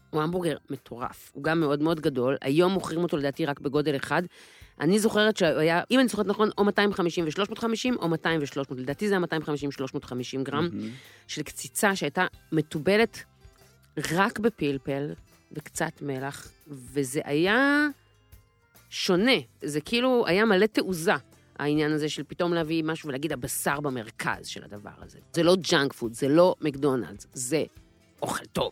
S1: הוא המבורגר מטורף, הוא גם מאוד מאוד גדול, היום מוכרים אותו לדעתי רק בגודל אחד. אני זוכרת שהוא היה, אם אני זוכרת נכון, או 250 ו-350 או 200 ו-300, לדעתי זה היה 250-350 גרם.
S2: מהמם.
S1: של קציצה שהייתה מתובלת רק בפלפל וקצת מלח, וזה היה שונה. זה כאילו היה מלא תעוזה, העניין הזה של פתאום להביא משהו ולהגיד הבשר במרכז של הדבר הזה. זה לא ג'אנק פוד, זה לא מקדונלדס, זה אוכל טוב.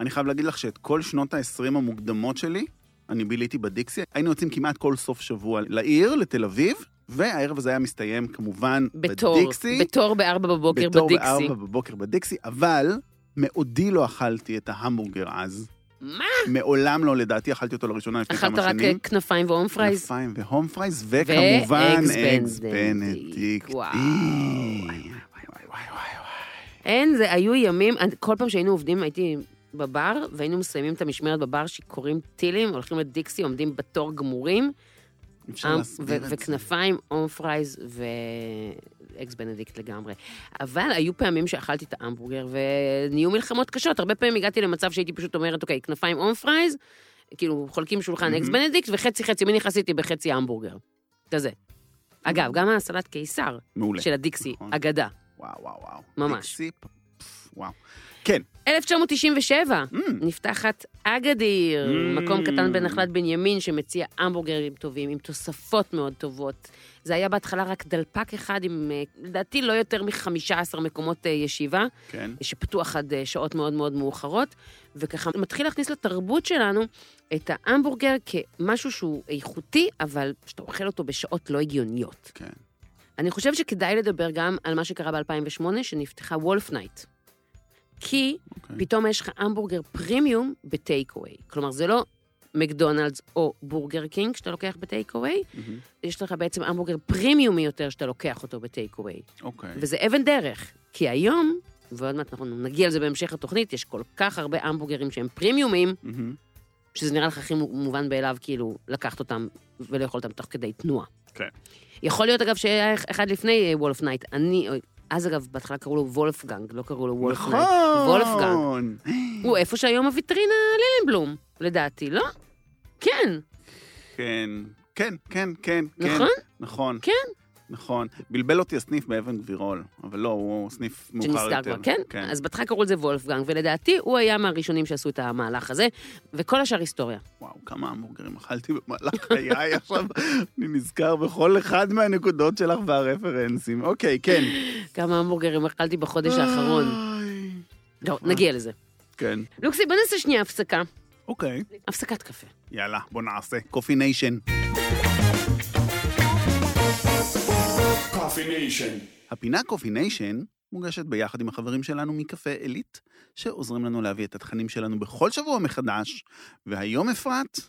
S2: אני חייב להגיד לך שאת כל שנות ה-20 המוקדמות שלי, אני ביליתי בדיקסי. היינו יוצאים כמעט כל סוף שבוע לעיר, לתל אביב, והערב הזה היה מסתיים כמובן
S1: בתור,
S2: בדיקסי.
S1: בתור בארבע בבוקר
S2: בתור
S1: בדיקסי.
S2: בארבע בבוקר בדיקסי, אבל מעודי לא אכלתי את ההמבורגר אז.
S1: מה?
S2: מעולם לא, לדעתי, אכלתי אותו לראשונה לפני
S1: אכלת
S2: כמה
S1: רק
S2: שנים.
S1: כנפיים והום פרייז?
S2: כנפיים והום פרייז, וכמובן
S1: ואגס
S2: אגס
S1: בנדיקט.
S2: בנדיקט.
S1: וואו.
S2: אי,
S1: וואי,
S2: וואי, וואי, וואי, וואי.
S1: אין, זה היו ימים, אני- כל פעם שהיינו עובדים הייתי בבר, והיינו מסיימים את המשמרת בבר שקוראים טילים, הולכים לדיקסי, עומדים בתור גמורים,
S2: אי אפשר
S1: עם,
S2: להסביר
S1: ו-
S2: את זה.
S1: וכנפיים, אום פרייז ואקס בנדיקט לגמרי. אבל היו פעמים שאכלתי את ההמבורגר, ונהיו מלחמות קשות. הרבה פעמים הגעתי למצב שהייתי פשוט אומרת, אוקיי, כנפיים אום פרייז, כאילו חולקים שולחן
S2: Mhm.
S1: אקס בנדיקט, וחצי חצי, מי נכנס איתי בחצי המבורגר. כזה. אגב, גם הסלט קיסר
S2: מעולה.
S1: של הדיקסי,
S2: נכון.
S1: אגדה.
S2: וואו, וואו, וואו.
S1: ממש.
S2: דיקסי, פ- פ- וואו. כן,
S1: 1997,
S2: אמ,
S1: נפתחת אגדיר,
S2: Mm.
S1: מקום קטן בנחלת בנימין שמציע המבורגרים טובים, עם תוספות מאוד טובות. זה היה בהתחלה רק דלפק אחד עם, אה, לדעתי, לא יותר מ-15 מקומות אה, ישיבה,
S2: כן.
S1: שפתוח עד אה, שעות מאוד מאוד מאוחרות, וככה מתחיל להכניס לתרבות שלנו את ההמבורגר כמשהו שהוא איכותי, אבל שאתה אוכל אותו בשעות לא הגיוניות.
S2: כן.
S1: אני חושבת שכדאי לדבר גם על מה שקרה ב-2008, שנפתחה וולף נייט. כי
S2: אוקיי.
S1: פתאום יש לך המבורגר פרימיום בטייק אווי. כלומר, זה לא מקדונלדס או בורגר קינג שאתה לוקח בטייק אווי,
S2: מהמם.
S1: יש לך בעצם המבורגר פרימיומי יותר שאתה לוקח אותו בטייק אווי.
S2: אוקיי.
S1: וזה אבן דרך, כי היום, ועוד מעט אנחנו נגיע לזה בהמשך התוכנית, יש כל כך הרבה המבורגרים שהם פרימיומים,
S2: מהמם.
S1: שזה נראה לך הכי מו- מובן מאליו, כאילו, לקחת אותם ולאכול אותם תוך כדי תנועה.
S2: כן.
S1: יכול להיות, אגב, שהיה אח- אחד לפני וולף נייט. אני, אוי, אז אגב, בהתחלה קראו לו וולפגנג, לא קראו לו וולף נייט. וולפגנג.
S2: נכון.
S1: הוא איפה שהיום הוויטרינה לילנבלום, לדעתי, לא? כן,
S2: כן, כן, כן, כן. כן.
S1: נכון?
S2: נכון.
S1: כן.
S2: נכון. בלבל אותי הסניף באבן גבירול, אבל לא, הוא סניף מאוחר
S1: שנסגר
S2: יותר.
S1: כבר, כן?
S2: כן.
S1: אז בהתחלה קראו לזה וולפגנג, ולדעתי הוא היה מהראשונים שעשו את המהלך הזה, וכל השאר היסטוריה.
S2: וואו, כמה המבורגרים אכלתי במהלך חיי עכשיו. [laughs] אני נזכר בכל אחד מהנקודות שלך והרפרנסים. אוקיי, כן.
S1: כמה המבורגרים אכלתי בחודש האחרון.
S2: איי.
S1: לא, נגיע לזה.
S2: כן.
S1: לוקסי, בוא נעשה שנייה הפסקה.
S2: אוקיי.
S1: הפסקת קפה.
S2: יאללה, בוא נעשה. קופי ניישן.
S3: Coffee Nation.
S2: הפינה קופי ניישן מוגשת ביחד עם החברים שלנו מקפה עילית, שעוזרים לנו להביא את התכנים שלנו בכל שבוע מחדש. והיום, אפרת,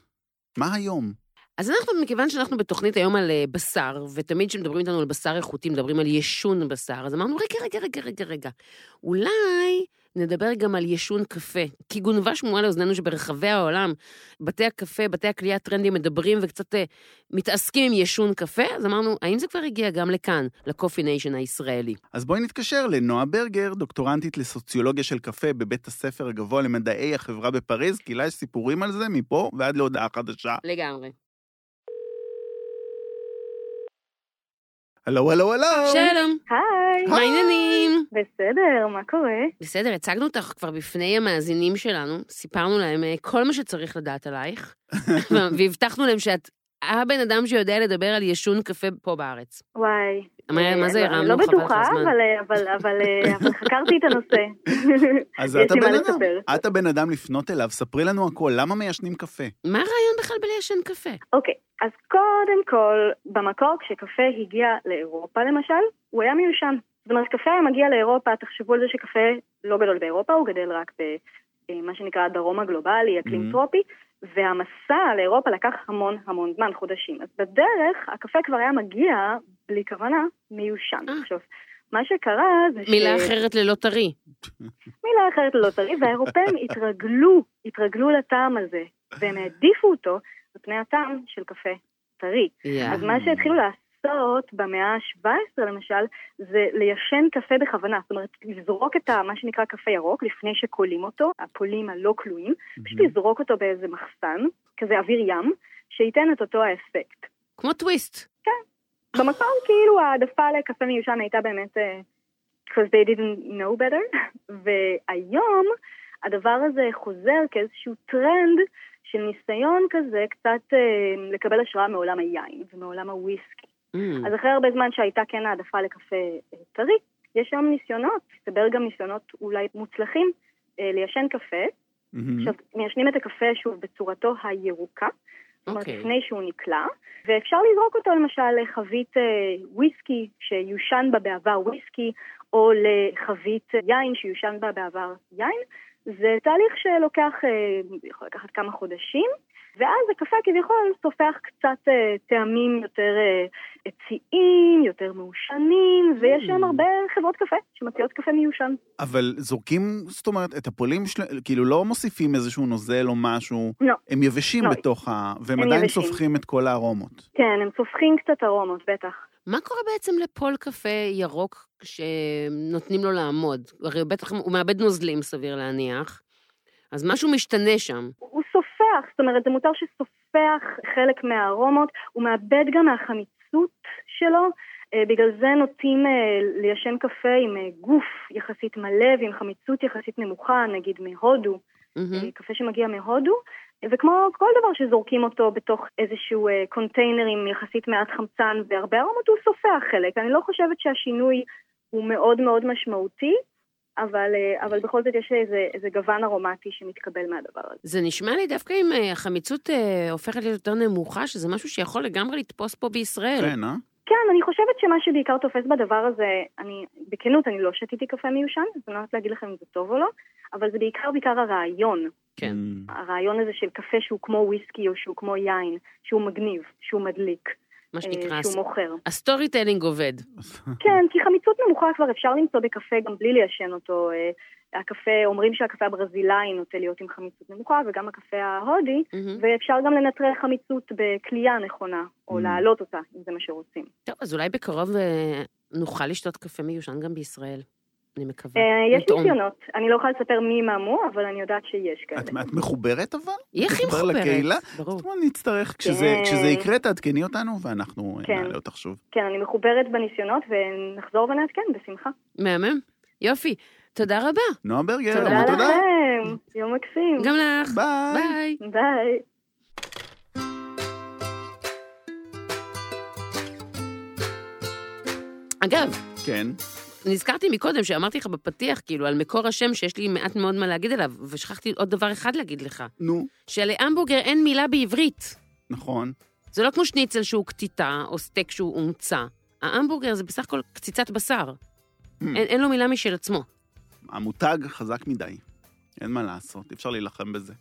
S2: מה היום?
S1: אז אנחנו, מכיוון שאנחנו בתוכנית היום על אה, בשר, ותמיד כשמדברים איתנו על בשר איכותי, מדברים על ישון בשר, אז אמרנו, רגע, רגע, רגע, רגע, רגע, אולי נדבר גם על ישון קפה. כי גונבה שמועה לאוזנינו שברחבי העולם, בתי הקפה, בתי הכלייה הטרנדים מדברים וקצת אה, מתעסקים עם ישון קפה, אז אמרנו, האם זה כבר הגיע גם לכאן, לקופי ניישן הישראלי?
S2: אז בואי נתקשר לנועה ברגר, דוקטורנטית לסוציולוגיה של קפה בבית הספר הגבוה למדעי החברה בפריז, כי לה יש סיפורים על זה מפה ועד להודעה חדשה.
S1: לגמרי.
S2: הלו, הלו, הלו!
S1: שלום,
S4: היי,
S1: מה העניינים?
S4: בסדר, מה קורה?
S1: בסדר, הצגנו אותך כבר בפני המאזינים שלנו, סיפרנו להם אה, כל מה שצריך לדעת
S4: [laughs]
S1: עלייך, והבטחנו להם שאת הבן אדם שיודע לדבר על ישון קפה פה בארץ.
S4: וואי.
S1: מה מה זה
S4: אה,
S1: הרמנו?
S4: לא
S1: חבל לך
S4: בטוחה,
S1: הזמן.
S4: אבל, אה, אבל, אבל, אה, אבל חקרתי את הנושא.
S2: אז
S4: יש
S2: את
S4: לי מה
S2: הבן אדם,
S4: לספר.
S2: את הבן אדם לפנות אליו, ספרי לנו הכל, למה מיישנים קפה?
S1: מה הרעיון בכלל בליישן קפה?
S4: אוקיי, אז קודם כל, במקור כשקפה הגיע לאירופה למשל, הוא היה מיושן. זאת אומרת, קפה היה מגיע לאירופה, תחשבו על זה שקפה לא גדול באירופה, הוא גדל רק במה שנקרא הדרום הגלובלי,
S2: Mhm.
S1: Mm-hmm.
S4: אקלים טרופי, והמסע לאירופה לקח המון המון זמן, חודשים. אז בדרך, הקפה כבר היה מגיע, בלי כוונה, מיושן.
S1: אה.
S4: עכשיו, מה שקרה זה ש...
S1: מילה אחרת ללא טרי.
S4: מילה אחרת לא טרי,
S1: [laughs]
S4: והאירופאים התרגלו, התרגלו לטעם הזה, והם העדיפו אותו על פני הטעם של קפה טרי.
S1: יאה.
S4: אז מה שהתחילו לעשות במאה ה-17 למשל, זה ליישן קפה בכוונה, זאת אומרת, לזרוק את ה- מה שנקרא קפה ירוק לפני שכולים אותו, הפולים הלא כלואים,
S2: Mm-hmm.
S4: פשוט לזרוק אותו באיזה מחסן, כזה אוויר ים, שייתן את אותו האפקט.
S1: כמו טוויסט.
S4: במקור כאילו העדפה לקפה מיושן הייתה באמת, אה, because they didn't know better, [laughs] והיום הדבר הזה חוזר כאיזשהו טרנד של ניסיון כזה קצת אה, לקבל השראה מעולם היין ומעולם הוויסקי.
S1: Mm.
S4: אז אחרי הרבה זמן שהייתה כן העדפה לקפה אה, טרי, יש היום ניסיונות, מסתבר גם ניסיונות אולי מוצלחים, אה, ליישן קפה.
S2: מהמם.
S4: עכשיו, מיישנים את הקפה שוב בצורתו הירוקה. כלומר,
S1: אוקיי.
S4: לפני שהוא נקלע, ואפשר לזרוק אותו למשל לחבית אה, וויסקי שיושן בה בעבר וויסקי, או לחבית יין שיושן בה בעבר יין. זה תהליך שלוקח, אה, יכול לקחת כמה חודשים, ואז הקפה כביכול סופח קצת אה, טעמים יותר אה, עציים, יותר מעושנים, ויש היום הרבה חברות קפה שמציעות קפה מיושן.
S2: אבל זורקים, זאת אומרת, את הפולים שלהם, כאילו לא מוסיפים איזשהו נוזל או משהו.
S4: לא.
S2: הם יבשים
S4: לא.
S2: בתוך ה... והם
S4: הם
S2: עדיין
S4: יבשים.
S2: סופחים את כל הארומות.
S4: כן, הם צופחים קצת ארומות, בטח.
S1: מה קורה בעצם לפול קפה ירוק שנותנים לו לעמוד? הרי בטח הוא מאבד נוזלים, סביר להניח. אז משהו משתנה שם.
S4: הוא סופח, זאת אומרת, זה מוצר שסופח חלק מהארומות, הוא מאבד גם מהחמיצות שלו, אה, בגלל זה נוטים אה, ליישן קפה עם אה, גוף יחסית מלא ועם חמיצות יחסית נמוכה, נגיד מהודו, אה,
S1: מהמם.
S4: קפה שמגיע מהודו, אה, וכמו כל דבר שזורקים אותו בתוך איזשהו אה, קונטיינר עם יחסית מעט חמצן והרבה ערמות, הוא סופח חלק. אני לא חושבת שהשינוי הוא מאוד מאוד משמעותי, אבל, אה, אבל בכל זאת יש איזה, איזה גוון ארומטי שמתקבל מהדבר הזה.
S1: זה נשמע לי דווקא אם אה, החמיצות אה, הופכת להיות יותר נמוכה, שזה משהו שיכול לגמרי לתפוס פה בישראל.
S2: כן, אה?
S4: כן, אני חושבת שמה שבעיקר תופס בדבר הזה, אני, בכנות, אני לא שתיתי קפה מיושן, אז אני לא יודעת להגיד לכם אם זה טוב או לא, אבל זה בעיקר בעיקר הרעיון.
S1: כן.
S4: הרעיון הזה של קפה שהוא כמו וויסקי או שהוא כמו יין, שהוא מגניב, שהוא מדליק,
S1: מה
S4: אה,
S1: שנקרא,
S4: שהוא מוכר.
S1: הסטורי טיילינג עובד.
S4: כן, כי חמיצות נמוכה כבר אפשר למצוא בקפה גם בלי ליישן אותו. אה, הקפה, אומרים שהקפה הברזילאי נוטה להיות עם חמיצות נמוכה, וגם הקפה ההודי,
S1: מהמם.
S4: ואפשר גם לנטרל חמיצות בכלייה נכונה, או
S2: Mm.
S4: להעלות אותה, אם זה מה שרוצים.
S1: טוב, אז אולי בקרוב אה, נוכל לשתות קפה מיושן גם בישראל. אני מקווה.
S4: אה, יש
S1: לטעום.
S4: ניסיונות, אני לא יכולה לספר מי מאמו, אבל אני יודעת שיש כאלה.
S2: את- את מחוברת אבל?
S1: היא הכי
S2: מתחבר
S1: מחוברת.
S2: לקהילה?
S1: ברור.
S2: בוא נצטרך, כשזה
S4: כן.
S2: כשזה יקרה, תעדכני אותנו, ואנחנו אה,
S4: כן.
S2: נעלה אותך שוב.
S4: כן, אני מחוברת בניסיונות, ונחזור ונעדכן, בשמחה.
S1: מהמם. יופי. תודה רבה.
S2: נועה ברגר,
S1: תודה
S2: המון תודה.
S4: לכם, יום מקסים.
S1: גם לך.
S2: ביי.
S1: ביי.
S4: ביי.
S1: אגב,
S2: כן.
S1: נזכרתי מקודם שאמרתי לך בפתיח, כאילו, על מקור השם שיש לי מעט מאוד מה להגיד עליו, ושכחתי עוד דבר אחד להגיד לך,
S2: נו,
S1: שלהמבורגר אין מילה בעברית.
S2: נכון.
S1: זה לא כמו שניצל שהוא קטיטה, או סטייק שהוא הומצא. ההמבורגר זה בסך הכל קציצת בשר.
S2: Hmm.
S1: אין, אין לו מילה משל עצמו.
S2: המותג חזק מדי. אין מה לעשות, אי אפשר להילחם בזה.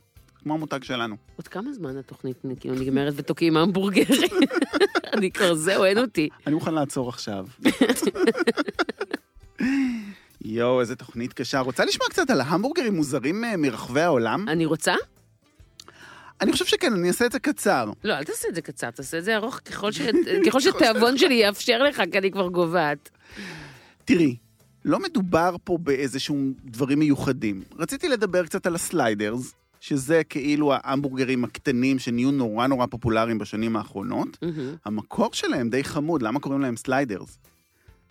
S2: כמו המותג שלנו.
S1: עוד כמה זמן התוכנית כאילו נגמרת ותוקעים המבורגר? [laughs] אני כבר, זהו, אין אותי.
S2: אני מוכן לעצור עכשיו. [laughs] יואו, איזה תוכנית קשה. רוצה לשמוע קצת על ההמבורגרים מוזרים אה, מרחבי העולם?
S1: אני רוצה?
S2: אני חושב שכן, אני אעשה את זה קצר.
S1: לא, אל תעשה את זה קצר, תעשה את זה ארוך ככל,
S2: [laughs]
S1: ש... ככל שתיאבון שלי יאפשר לך, כי אני כבר גוועת.
S2: תראי, לא מדובר פה באיזשהו דברים מיוחדים. רציתי לדבר קצת על הסליידרס, שזה כאילו ההמבורגרים הקטנים שנהיו נורא נורא פופולריים בשנים האחרונות.
S1: מהמם.
S2: המקור שלהם די חמוד, למה קוראים להם סליידרס?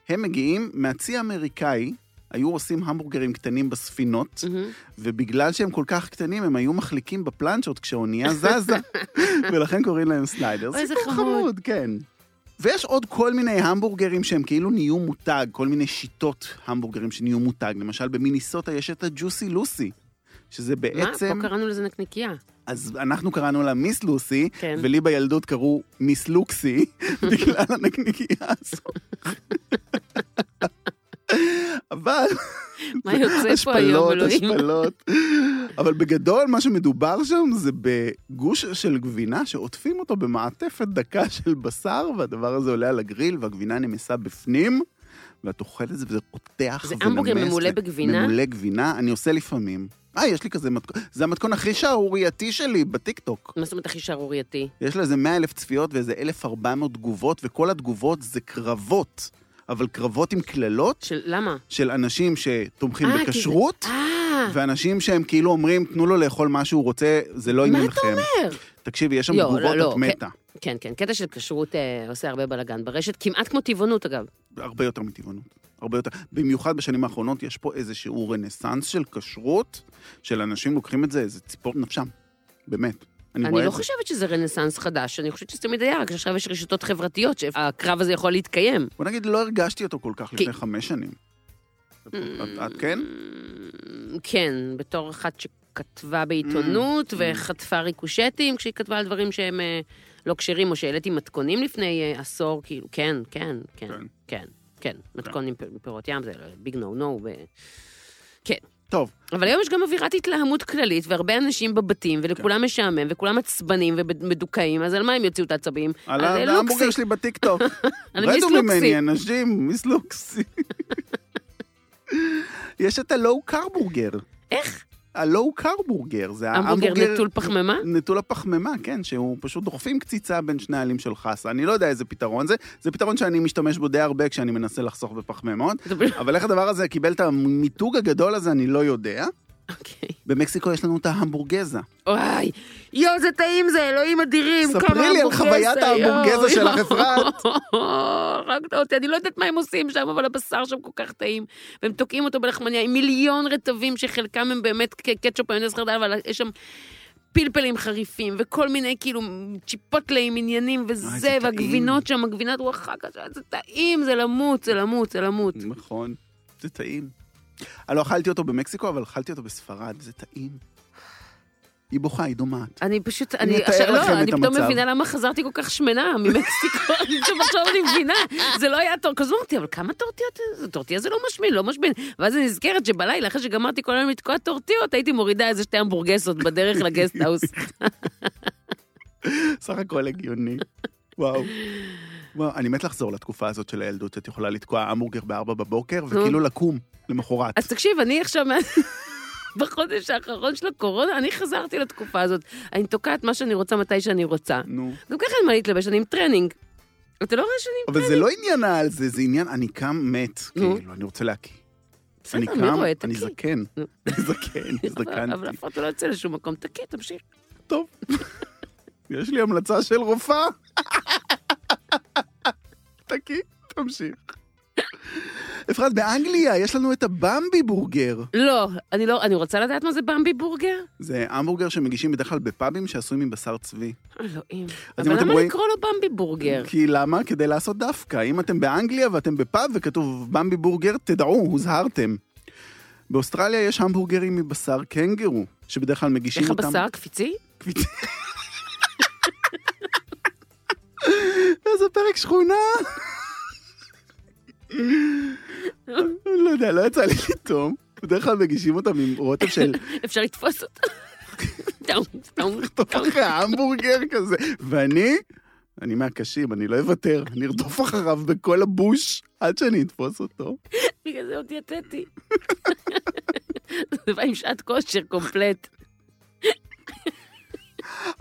S2: הם מגיעים מהצי האמריקאי, היו עושים המבורגרים קטנים בספינות,
S1: מהמם.
S2: ובגלל שהם כל כך קטנים, הם היו מחליקים בפלנצ'ות
S1: [laughs]
S2: כשהאונייה זזה, ולכן קוראים להם סליידרס.
S1: אוי, זה
S2: סיפור
S1: חמוד.
S2: חמוד, כן. ויש עוד כל מיני המבורגרים שהם כאילו נהיו מותג, כל מיני שיטות המבורגרים שנהיו מותג. למשל, במיניסוטה יש את הג'וסי לוסי, שזה
S1: מה?
S2: בעצם...
S1: פה קראנו לזה
S2: [laughs]
S1: נקניקייה.
S2: אז אנחנו קראנו לה מיס לוסי,
S1: כן.
S2: ולי בילדות קראו מיס לוקסי, בגלל הנקניקייה הזאת. אבל
S1: מה יוצא פה היום,
S2: השפלות,
S1: אלוהים?
S2: השפלות. אבל בגדול, מה שמדובר שם זה בגוש של גבינה שעוטפים אותו במעטפת דקה של בשר, והדבר הזה עולה על הגריל, והגבינה נמסה בפנים, ואת אוכלת את זה וזה רותח
S1: זה
S2: ונמס.
S1: המבורגר ממולא
S2: ו-
S1: בגבינה?
S2: ממולא גבינה, אני עושה לפעמים. אה, יש לי כזה מתכון, זה המתכון הכי שערורייתי שלי בטיקטוק.
S1: מה זאת אומרת הכי שערורייתי?
S2: יש לו איזה 100 אלף צפיות ואיזה 1,400 תגובות, וכל התגובות זה קרבות, אבל קרבות עם קללות
S1: של למה?
S2: של אנשים שתומכים
S1: אה, כי זה-
S2: בכשרות.
S1: אה,
S2: ואנשים שהם כאילו אומרים, תנו לו לאכול מה שהוא רוצה, זה לא
S1: מה
S2: עניינכם.
S1: אתה אומר?
S2: תקשיבי, יש שם
S1: לא,
S2: תגובות,
S1: לא, לא,
S2: את
S1: כן.
S2: מתה.
S1: כן, כן, קטע של כשרות אה, עושה הרבה בלאגן ברשת, כמעט כמו טבעונות אגב.
S2: הרבה יותר מטבעונות. הרבה יותר. במיוחד בשנים האחרונות, יש פה איזשהו רנסאנס של כשרות, של אנשים לוקחים את זה, זה ציפור נפשם. באמת. אני רואה
S1: אני לא
S2: את זה.
S1: חושבת שזה רנסאנס חדש, אני חושבת שזה תמיד היה, רק שעכשיו יש רשתות חברתיות שהקרב הזה יכול להתקיים.
S2: בוא נגיד, לא הרגשתי אותו כל כך
S1: כי-
S2: לפני חמש שנים. את- את- את כן?
S1: Mm, כן, בתור אחת שכתבה בעיתונות וחטפה ריקושטים כשהיא כתבה על דברים שהם אה, לא כשרים, או שהעליתי מתכונים לפני אה, עשור, כאילו, כן, כן, כן,
S2: כן.
S1: כן, כן, מתכון עם פ- פירות ים זה ביג נו נו. כן.
S2: טוב,
S1: אבל היום יש גם אווירת התלהמות כללית, והרבה אנשים בבתים,
S2: כן.
S1: ולכולם משעמם, וכולם עצבנים ומדוכאים, אז על מה הם יוציאו את העצבים?
S2: על
S1: על
S2: ה- ההמבורגר שלי
S1: [laughs]
S2: בטיקטוק.
S1: על
S2: רדו
S1: מיס לוקסי.
S2: ממני, אנשים, מיס לוקסי. [laughs] יש את הלואו קרבורגר.
S1: איך?
S2: הלואו קרבורגר, זה
S1: המבורגר
S2: ההמבורגר...
S1: נטול פחמימה?
S2: נטול הפחמימה, כן, שהוא פשוט דוחפים קציצה בין שני העלים של חסה. אני לא יודע איזה פתרון זה, זה פתרון שאני משתמש בו די הרבה כשאני מנסה לחסוך בפחמימות,
S1: זה פשוט-
S2: אבל איך הדבר הזה קיבל את המיתוג הגדול הזה, אני לא יודע.
S1: [laughs] אוקיי.
S2: במקסיקו יש לנו את ההמבורגזה.
S1: וואי, יואו, זה טעים זה, אלוהים אדירים, כמה
S2: ספרי לי על
S1: המבורגזה,
S2: חוויית
S1: יואו,
S2: ההמבורגזה שלך,
S1: יואו.
S2: אפרת.
S1: [laughs] הרגת אותי, אני לא יודעת מה הם עושים שם, אבל הבשר שם כל כך טעים. והם תוקעים אותו בלחמניה עם מיליון רטבים, שחלקם הם באמת ק- קטשופ מיונז חרדל, אבל יש שם פלפלים חריפים, וכל מיני כאילו צ'יפוטלה עם עניינים
S2: אוי, זה
S1: וזה,
S2: טעים.
S1: והגבינות שם, הגבינת וואחקה, זה טעים, זה למות, זה למות, זה למות.
S2: נכון, זה טעים. אני לא אכלתי אותו במקסיקו, אבל אכלתי אותו בספרד, זה טעים. היא בוכה, היא דומעת.
S1: אני פשוט,
S2: אני
S1: אני
S2: אתאר
S1: עכשיו,
S2: לכם את
S1: לא, אני פתאום
S2: המצב.
S1: מבינה למה חזרתי כל כך שמנה ממקסיקו, [laughs] אני פשוט עכשיו אני מבינה, זה לא היה טור, כזו אמרתי, אבל כמה טורטיות, זה טורטיה זה לא משמין, לא משמין, ואז אני נזכרת שבלילה, אחרי שגמרתי כל היום לתקוע טורטיות, הייתי מורידה איזה שתי המבורגסות בדרך
S2: [laughs]
S1: לגסטהאוס.
S2: סך הכל הגיוני. וואו. וואו, אני מת לחזור לתקופה הזאת של הילדות, שאת יכולה לתקוע המבורגר בארבע בבוקר, וכאילו לקום למחרת.
S1: אז תקשיב, אני עכשיו, מה- [laughs] בחודש האחרון של הקורונה, אני חזרתי לתקופה הזאת, אני תוקעת מה שאני רוצה מתי שאני רוצה.
S2: נו.
S1: גם ככה אין מה להתלבש, אני עם טרנינג. אתה לא רואה שאני עם
S2: אבל זה לא עניין על זה, זה עניין, אני קם מת,
S1: נו.
S2: כאילו, אני רוצה להקיא.
S1: בסדר,
S2: אני
S1: מי
S2: קם,
S1: רואה?
S2: אני
S1: תקיא.
S2: זקן.
S1: נו.
S2: [laughs] אני זקן,
S1: אבל- אבל
S2: הזדקנתי.
S1: אף אחד לא יוצא לשום מקום, תקי, תמשיך.
S2: טוב. יש לי המלצה של רופאה. [laughs] תקי, תמשיך. אפרת, באנגליה יש לנו את הבמבי בורגר.
S1: לא, אני לא, אני רוצה לדעת מה זה במבי בורגר?
S2: זה המבורגר שמגישים בדרך כלל בפאבים שעשוי מבשר צבי.
S1: אלוהים.
S2: אם
S1: אבל
S2: אתם
S1: למה
S2: רואים-
S1: לקרוא לו במבי בורגר?
S2: כי למה? כדי לעשות דווקא. אם אתם באנגליה ואתם בפאב וכתוב במבי בורגר, תדעו, הוזהרתם. באוסטרליה יש המבורגרים מבשר קנגרו, שבדרך כלל מגישים
S1: איך
S2: אותם...
S1: הבשר? קפיצי?
S2: איזה פרק שכונה! אני לא יודע, לא יצא לי לטעום. בדרך כלל מגישים אותם עם רוטב של
S1: אפשר לתפוס
S2: [laughs]
S1: אותו? טאום, טאום,
S2: ארדוף
S1: טאום.
S2: [laughs] אחרי ההמבורגר כזה. ואני, אני מהקשים, אני לא אוותר, אני ארדוף אחריו בכל הבוש עד שאני אתפוס אותו.
S1: בגלל זה עוד יצאתי. זה בא עם שעת כושר קומפלט.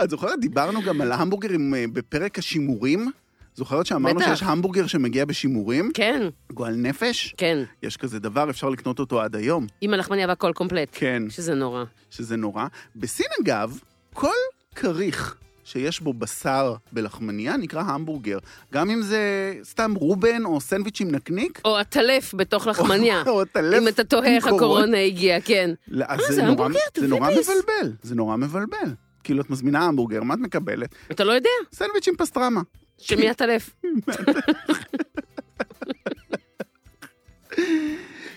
S2: את זוכרת, דיברנו גם על המבורגרים אה, בפרק השימורים? זוכרת שאמרנו
S1: בטח.
S2: שיש המבורגר שמגיע בשימורים?
S1: כן,
S2: גועל נפש?
S1: כן.
S2: יש כזה דבר, אפשר לקנות אותו עד היום.
S1: עם הלחמניה והכל קומפלט.
S2: כן.
S1: שזה נורא.
S2: שזה נורא. בסין, אגב, כל כריך שיש בו בשר בלחמניה נקרא המבורגר. גם אם זה סתם רובן או סנדוויץ' עם נקניק.
S1: או הטלף בתוך
S2: [laughs]
S1: לחמניה.
S2: או טלף
S1: אם אתה תוהה איך
S2: עם קורון.
S1: הקורונה הגיעה, כן.
S2: לא, אז
S1: אה,
S2: זה
S1: זה
S2: נורא-
S1: המבורגר,
S2: זה
S1: תביא
S2: נורא
S1: ביס.
S2: מבלבל, זה נורא מבלבל. כאילו, את מזמינה המבורגר, מה את מקבלת?
S1: אתה לא יודע
S2: סנדוויץ' עם פסטרמה. [laughs]
S1: שמי הטלף.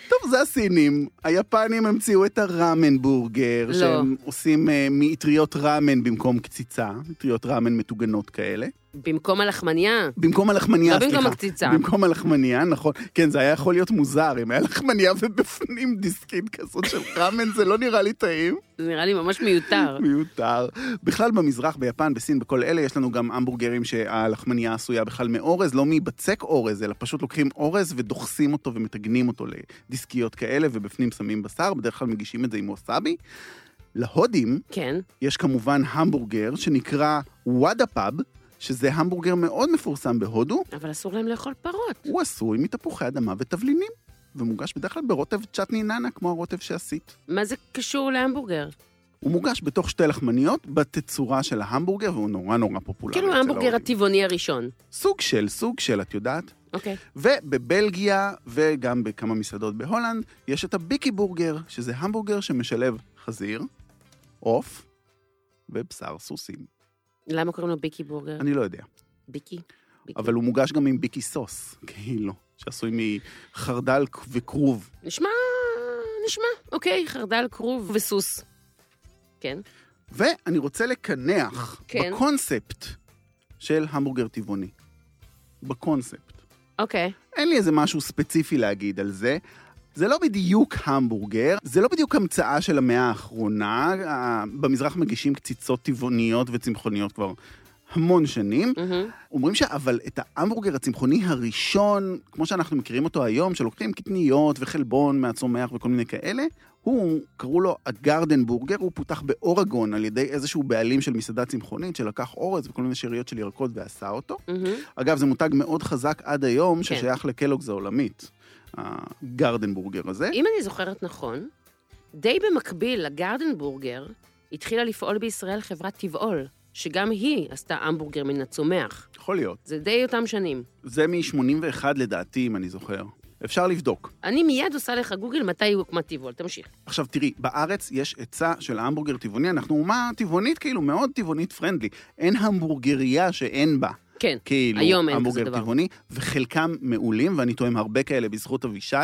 S2: טוב, זה הסינים. היפנים המציאו את הראמן בורגר,
S1: לא.
S2: שהם עושים אה, מאטריות ראמן במקום קציצה, אטריות ראמן מטוגנות כאלה.
S1: במקום הלחמניה.
S2: במקום הלחמניה,
S1: לא
S2: סליחה.
S1: במקום הקציצה.
S2: במקום הלחמניה, נכון. כן, זה היה יכול להיות מוזר, אם היה [laughs] לחמניה ובפנים דיסקית כזאת של ראמן, זה לא נראה לי טעים.
S1: זה נראה לי ממש מיותר.
S2: מיותר. בכלל במזרח, ביפן, בסין, בכל אלה, יש לנו גם המבורגרים שהלחמניה עשויה בכלל מאורז, לא מבצק אורז, אלא פשוט לוקחים אורז ודוחסים אותו ומתגנים אותו לדיסקיות כאלה, ובפנים שמים בשר, בדרך כלל מגישים את זה עם ווסאבי. להודים
S1: כן.
S2: יש כמובן המבורגר שנקרא וואדה פאב, שזה המבורגר מאוד מפורסם בהודו,
S1: אבל אסור להם לאכול פרות.
S2: הוא עשוי מתפוחי אדמה ותבלינים, ומוגש בדרך כלל ברוטב צ'טני נאנה, כמו הרוטב שעשית.
S1: מה זה קשור להמבורגר?
S2: הוא מוגש בתוך שתי לחמניות בתצורה של ההמבורגר, והוא נורא נורא פופולרי.
S1: כאילו
S2: אצל
S1: ההמבורגר
S2: ההודים.
S1: הטבעוני הראשון.
S2: סוג של, סוג של, את יודעת. [laughs]
S1: אוקיי.
S2: ובבלגיה, וגם בכמה מסעדות בהולנד, יש את הביקי בורגר, שזה המבורגר שמשלב חזיר, עוף ובשר סוסים.
S1: למה קוראים לו ביקי בורגר?
S2: אני לא יודע.
S1: ביקי? ביקי.
S2: אבל הוא מוגש גם עם ביקי סוס, [laughs] כאילו, שעשוי מחרדל וכרוב.
S1: נשמע, נשמע. אוקיי, חרדל, כרוב וסוס. כן.
S2: ואני רוצה לקנח
S1: כן.
S2: בקונספט של המבורגר טבעוני. בקונספט.
S1: אוקיי.
S2: אין לי איזה משהו ספציפי להגיד על זה. זה לא בדיוק המבורגר, זה לא בדיוק המצאה של המאה האחרונה. אה, במזרח מגישים קציצות טבעוניות וצמחוניות כבר המון שנים.
S1: מהמם.
S2: אומרים שאבל את ההמבורגר הצמחוני הראשון, כמו שאנחנו מכירים אותו היום, שלוקחים קטניות וחלבון מהצומח וכל מיני כאלה, הוא, קראו לו הגרדן בורגר, הוא פותח באורגון על ידי איזשהו בעלים של מסעדה צמחונית שלקח אורז וכל מיני שאריות של ירקות ועשה אותו.
S1: מהמם.
S2: אגב, זה מותג מאוד חזק עד היום, ששייך לקלוגס העולמית, הגרדנבורגר הזה.
S1: אם אני זוכרת נכון, די במקביל לגרדנבורגר, התחילה לפעול בישראל חברת טבעול, שגם היא עשתה המבורגר מן הצומח.
S2: יכול להיות.
S1: זה די אותם שנים.
S2: זה מ-81 לדעתי, אם אני זוכר. אפשר לבדוק.
S1: אני מיד עושה לך גוגל מתי היא הוקמה טבעול, תמשיך.
S2: עכשיו תראי, בארץ יש היצע של המבורגר טבעוני, אנחנו אומה טבעונית כאילו, מאוד טבעונית פרנדלי. אין המבורגריה שאין בה.
S1: כן,
S2: כאילו,
S1: היום אין כזה
S2: המבורגר
S1: דבר.
S2: טבעוני, וחלקם מעולים, ואני טועם הרבה כאלה בזכות אבישי,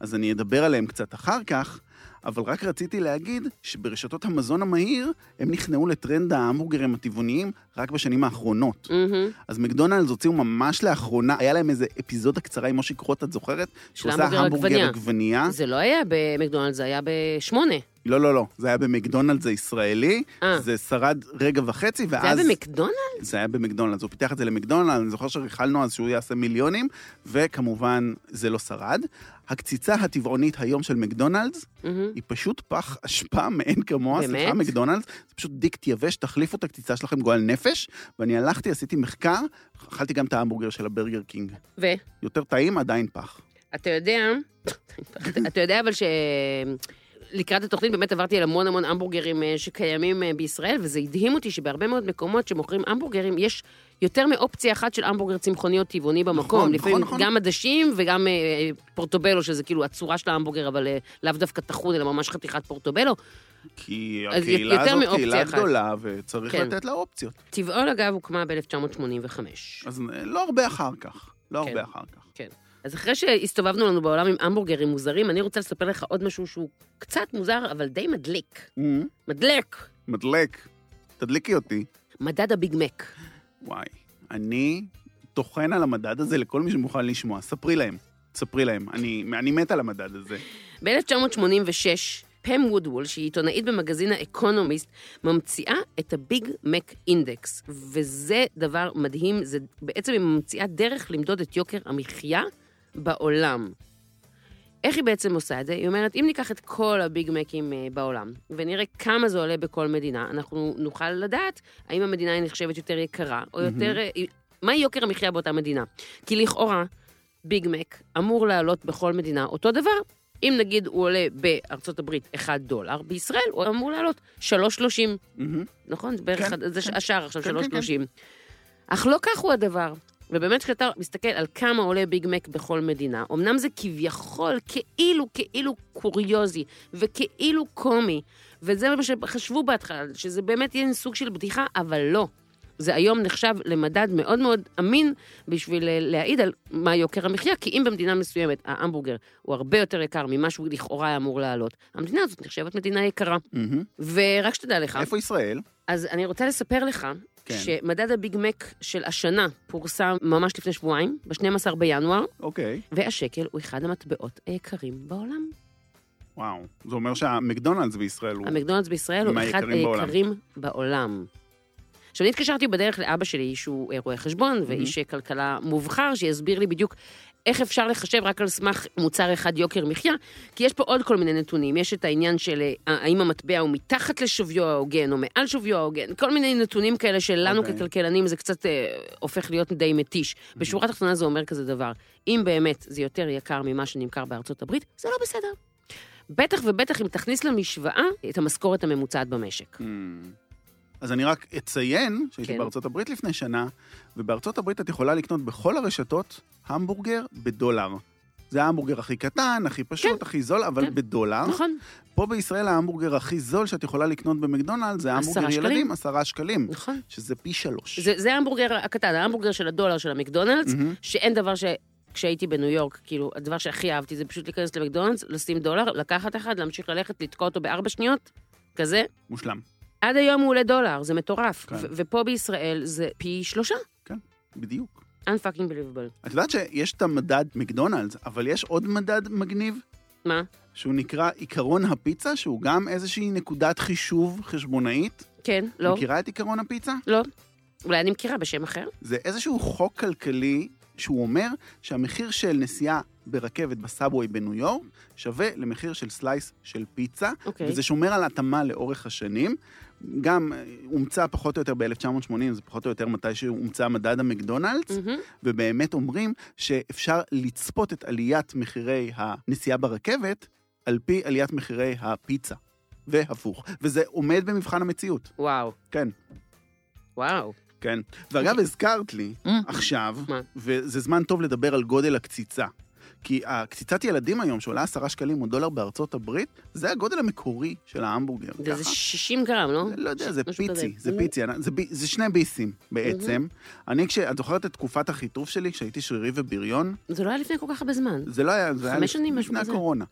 S2: אז אני אדבר עליהם קצת אחר כך, אבל רק רציתי להגיד שברשתות המזון המהיר, הם נכנעו לטרנד ההמבורגרים הטבעוניים רק בשנים האחרונות.
S1: מהמם.
S2: אז מקדונלדס הוציאו ממש לאחרונה, היה להם איזה אפיזודה קצרה עם מושיק רוט, את זוכרת? שהוא עשה
S1: המבורגר
S2: המבורגר
S1: עגבנייה.
S2: עגבנייה.
S1: זה לא היה במקדונלדס, זה היה בשמונה.
S2: לא, לא, לא, זה היה במקדונלדס הישראלי,
S1: אה.
S2: זה שרד רגע וחצי, ואז...
S1: זה היה במקדונלדס?
S2: זה היה במקדונלדס, הוא פיתח את זה למקדונלדס, אני זוכר שריכלנו אז שהוא יעשה מיליונים, וכמובן זה לא שרד. הקציצה הטבעונית היום של מקדונלדס
S1: מהמם.
S2: היא פשוט פח אשפה מאין כמוה,
S1: באמת?
S2: סליחה, מקדונלדס, זה פשוט דיקט יבש, תחליפו את הקציצה שלכם גועל נפש, ואני הלכתי, עשיתי מחקר, אכלתי גם את ההמבורגר של הברגר קינג.
S1: ו?
S2: יותר טעים, עדיין פח.
S1: אתה יודע, [laughs] אתה יודע אבל ש... לקראת התוכנית באמת עברתי על המון המון המבורגרים אה, שקיימים אה, בישראל, וזה הדהים אותי שבהרבה מאוד מקומות שמוכרים המבורגרים, יש יותר מאופציה אחת של המבורגר צמחוני או טבעוני במקום.
S2: נכון,
S1: לפעמים
S2: נכון.
S1: גם עדשים וגם אה, פורטובלו, שזה כאילו הצורה של ההמבורגר, אבל אה, לאו דווקא טחון, אלא ממש חתיכת פורטובלו.
S2: כי
S1: אז
S2: הקהילה
S1: יותר
S2: הזאת
S1: מאופציה
S2: קהילה
S1: אחת.
S2: גדולה, וצריך
S1: כן.
S2: לתת לה אופציות.
S1: טבעול, אגב, הוקמה ב-1985.
S2: אז לא הרבה אחר כך, לא
S1: כן.
S2: הרבה אחר כך.
S1: כן. אז אחרי שהסתובבנו לנו בעולם עם המבורגרים מוזרים, אני רוצה לספר לך עוד משהו שהוא קצת מוזר, אבל די מדליק.
S2: אמ,
S1: מדליק.
S2: מדלק, תדליקי אותי.
S1: מדד הביג מק.
S2: וואי, אני טוחן על המדד הזה לכל מי שמוכן לשמוע. ספרי להם, ספרי להם. אני, אני מת על המדד הזה.
S1: ב-1986, פם וודוול, שהיא עיתונאית במגזין האקונומיסט, ממציאה את הביג מק אינדקס, וזה דבר מדהים, זה בעצם היא ממציאה דרך למדוד את יוקר המחיה בעולם. איך היא בעצם עושה את זה? היא אומרת, אם ניקח את כל הביג מקים אה, בעולם, ונראה כמה זה עולה בכל מדינה, אנחנו נוכל לדעת האם המדינה היא נחשבת יותר יקרה, או יותר... אה, מה יוקר המחיה באותה מדינה? כי לכאורה, ביג מק אמור לעלות בכל מדינה אותו דבר. אם נגיד הוא עולה בארצות הברית 1 דולר, בישראל הוא אמור לעלות 3.30.
S2: מהמם.
S1: נכון? זה בערך,
S2: כן,
S1: כן, זה
S2: כן.
S1: כן. השער עכשיו,
S2: כן,
S1: שלוש
S2: כן, כן.
S1: שלושים. אך לא כך הוא הדבר. ובאמת, כשאתה מסתכל על כמה עולה ביג מק בכל מדינה, אמנם זה כביכול, כאילו, כאילו קוריוזי, וכאילו קומי, וזה מה שחשבו בהתחלה, שזה באמת יהיה סוג של בדיחה, אבל לא. זה היום נחשב למדד מאוד מאוד אמין בשביל אה, להעיד על מה יוקר המחיה, כי אם במדינה מסוימת ההמבורגר הוא הרבה יותר יקר ממה שהוא לכאורה היה אמור לעלות, המדינה הזאת נחשבת מדינה יקרה.
S2: מהמם.
S1: ורק שתדע לך...
S2: איפה ישראל?
S1: אז אני רוצה לספר לך
S2: כן.
S1: כן. שמדד הביג מק של השנה פורסם ממש לפני שבועיים, ב-12 בינואר,
S2: אוקיי,
S1: והשקל הוא אחד המטבעות היקרים בעולם.
S2: וואו. זה אומר שהמקדונלדס בישראל הוא...
S1: המקדונלדס בישראל הוא אחד
S2: מהיקרים בעולם.
S1: היקרים בעולם. עכשיו, אני התקשרתי בדרך לאבא שלי, שהוא אה, רואה חשבון ואיש אה, כלכלה מובחר, שיסביר לי בדיוק איך אפשר לחשב רק על סמך מוצר אחד יוקר מחיה, כי יש פה עוד כל מיני נתונים. יש את העניין של אה, האם המטבע הוא מתחת לשוויו ההוגן או מעל שוויו ההוגן, כל מיני נתונים כאלה שלנו
S2: אוקיי.
S1: ככלכלנים זה קצת אה, הופך להיות די מתיש. בשורה התחתונה זה אומר כזה דבר, אם באמת זה יותר יקר ממה שנמכר בארצות הברית, זה לא בסדר. בטח ובטח אם תכניס למשוואה את המשכורת הממוצעת במשק.
S2: אמ, אז אני רק אציין שהייתי
S1: כן.
S2: בארצות הברית לפני שנה, ובארצות הברית את יכולה לקנות בכל הרשתות המבורגר בדולר. זה ההמבורגר הכי קטן, הכי פשוט, הכי זול, אבל
S1: כן.
S2: בדולר.
S1: נכון,
S2: פה בישראל ההמבורגר הכי זול שאת יכולה לקנות במקדונלדס זה
S1: עשרה
S2: המבורגר
S1: שקלים.
S2: ילדים, עשרה שקלים,
S1: נכון.
S2: שזה פי שלוש.
S1: זה, זה ההמבורגר הקטן, ההמבורגר של הדולר של המקדונלדס,
S2: מהמם.
S1: שאין דבר ש... כשהייתי בניו יורק, כאילו, הדבר שהכי אהבתי זה פשוט להיכנס למקדונלדס, לשים דולר, לקחת אחד, להמשיך ללכת, לתקוע אותו בארבע שניות, כזה.
S2: מושלם.
S1: עד היום הוא עולה דולר, זה מטורף.
S2: כן.
S1: ו- ופה בישראל זה פי שלושה.
S2: בדיוק.
S1: Unfucking believable.
S2: את יודעת שיש את המדד מקדונלדס, אבל יש עוד מדד מגניב,
S1: מה?
S2: שהוא נקרא עיקרון הפיצה, שהוא גם איזושהי נקודת חישוב חשבונאית.
S1: כן, לא,
S2: מכירה את עיקרון הפיצה?
S1: לא. אולי אני מכירה בשם אחר?
S2: זה איזשהו חוק כלכלי שהוא אומר שהמחיר של נסיעה ברכבת בסאבווי בניו יורק שווה למחיר של סלייס של פיצה,
S1: אוקיי.
S2: וזה שומר על התאמה לאורך השנים. גם אה, אומצה פחות או יותר ב-1980, זה פחות או יותר מתי שהומצא מדד המקדונלדס,
S1: מהמם.
S2: ובאמת אומרים שאפשר לצפות את עליית מחירי הנסיעה ברכבת על פי עליית מחירי הפיצה. והפוך. וזה עומד במבחן המציאות.
S1: וואו,
S2: כן,
S1: וואו.
S2: כן. ואגב, הזכרת לי
S1: Mm.
S2: עכשיו,
S1: מה?
S2: וזה זמן טוב לדבר על גודל הקציצה. כי הקציצת ילדים היום, שעולה עשרה שקלים או דולר בארצות הברית, זה הגודל המקורי של ההמבורגר.
S1: זה
S2: ככה.
S1: 60 גרם, לא?
S2: לא יודע, זה
S1: משהו כזה.
S2: פיצי, זה
S1: הוא-
S2: פיצי, אני- זה בי- זה שני ביסים בעצם. אני, כש- את זוכרת את תקופת החיטוף שלי, כשהייתי שרירי ובריון?
S1: זה לא היה לפני כל כך הרבה זמן.
S2: זה לא היה, זה היה
S1: חמש שנים, משהו
S2: לפני
S1: כזה. [laughs]
S2: הקורונה.